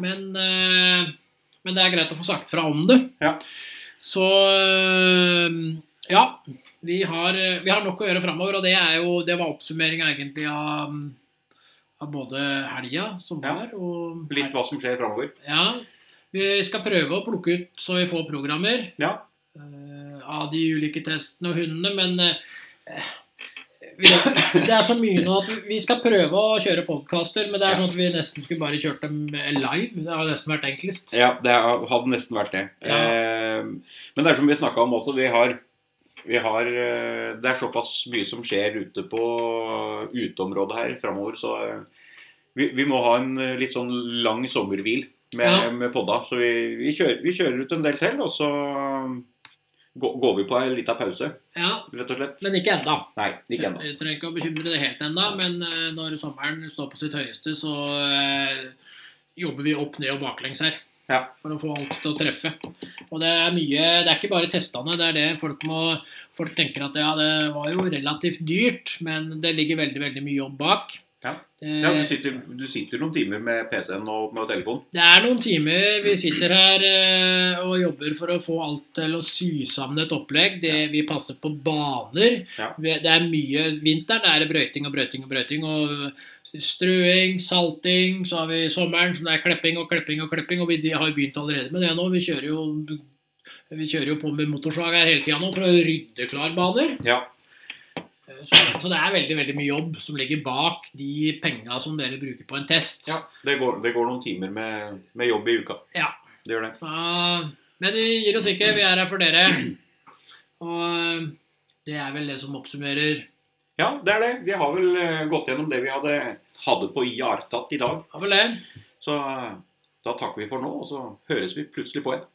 Speaker 2: Men, eh, men det er greit å få sagt fra om det.
Speaker 1: Ja.
Speaker 2: Så eh, ja. Vi har, eh, vi har nok å gjøre framover, og det, er jo, det var oppsummeringa egentlig av, av både helga som
Speaker 1: Ja.
Speaker 2: var, og
Speaker 1: Litt hva som skjer framover.
Speaker 2: Ja. Vi skal prøve å plukke ut så vi får programmer
Speaker 1: Ja.
Speaker 2: eh, av de ulike testene og hundene, men eh, vi, det er så mye nå at vi- vi skal prøve å kjøre podkaster, men det er
Speaker 1: Ja.
Speaker 2: sånn at vi nesten skulle bare kjørt dem live. Det har nesten vært enklest.
Speaker 1: Ja, det er- hadde nesten vært det.
Speaker 2: Ja.
Speaker 1: Eh, men det er som vi snakka om også, vi har, vi har eh, Det er såpass mye som skjer ute på uteområdet her framover, så eh, vi, vi må ha en eh, litt sånn lang sommerhvil med,
Speaker 2: Ja.
Speaker 1: med podda. Så vi, vi, kjører, vi kjører ut en del til, og så um, gå- går vi på en liten pause,
Speaker 2: Ja,
Speaker 1: rett og slett.
Speaker 2: men ikke enda.
Speaker 1: Nei, ikke ennå.
Speaker 2: Jeg eh, trenger ikke å bekymre det helt ennå, men eh, når sommeren står på sitt høyeste, så eh, jobber vi opp ned og baklengs her.
Speaker 1: Ja.
Speaker 2: For å få alt til å treffe. Og det er mye Det er ikke bare testene. Det er det folk må Folk tenker at ja, det var jo relativt dyrt, men det ligger veldig, veldig mye jobb bak. Eh,
Speaker 1: Ja.
Speaker 2: Det-
Speaker 1: Ja, du sitter, du sitter noen timer med PC-en og med telefonen.
Speaker 2: det er noen timer vi sitter her eh, og jobber for å få alt til å sy sammen et opplegg. Det, Vi passer på baner.
Speaker 1: Ja.
Speaker 2: Vi- Det er mye Vinteren er det brøyting og brøyting og brøyting. Og strøing, salting. Så har vi sommeren som det er klepping og klepping og klepping. Og vi de har begynt allerede med det nå. Vi kjører jo, vi kjører jo på med motorsag her hele tida nå for å rydde klar baner.
Speaker 1: Ja.
Speaker 2: Så, så det er veldig, veldig mye jobb som ligger bak de penga som dere bruker på en test.
Speaker 1: ja. Det, går, det går noen timer med, med jobb i uka.
Speaker 2: Ja.
Speaker 1: Det gjør det.
Speaker 2: Ja, men vi gir oss ikke. Vi er her for dere. Og eh, det er vel det som oppsummerer.
Speaker 1: Ja, det er det. Vi har vel eh, gått gjennom det vi hadde, hadde på Jartat i dag.
Speaker 2: Ja, vel det.
Speaker 1: Så eh, da takker vi for nå, og så høres vi plutselig på igjen.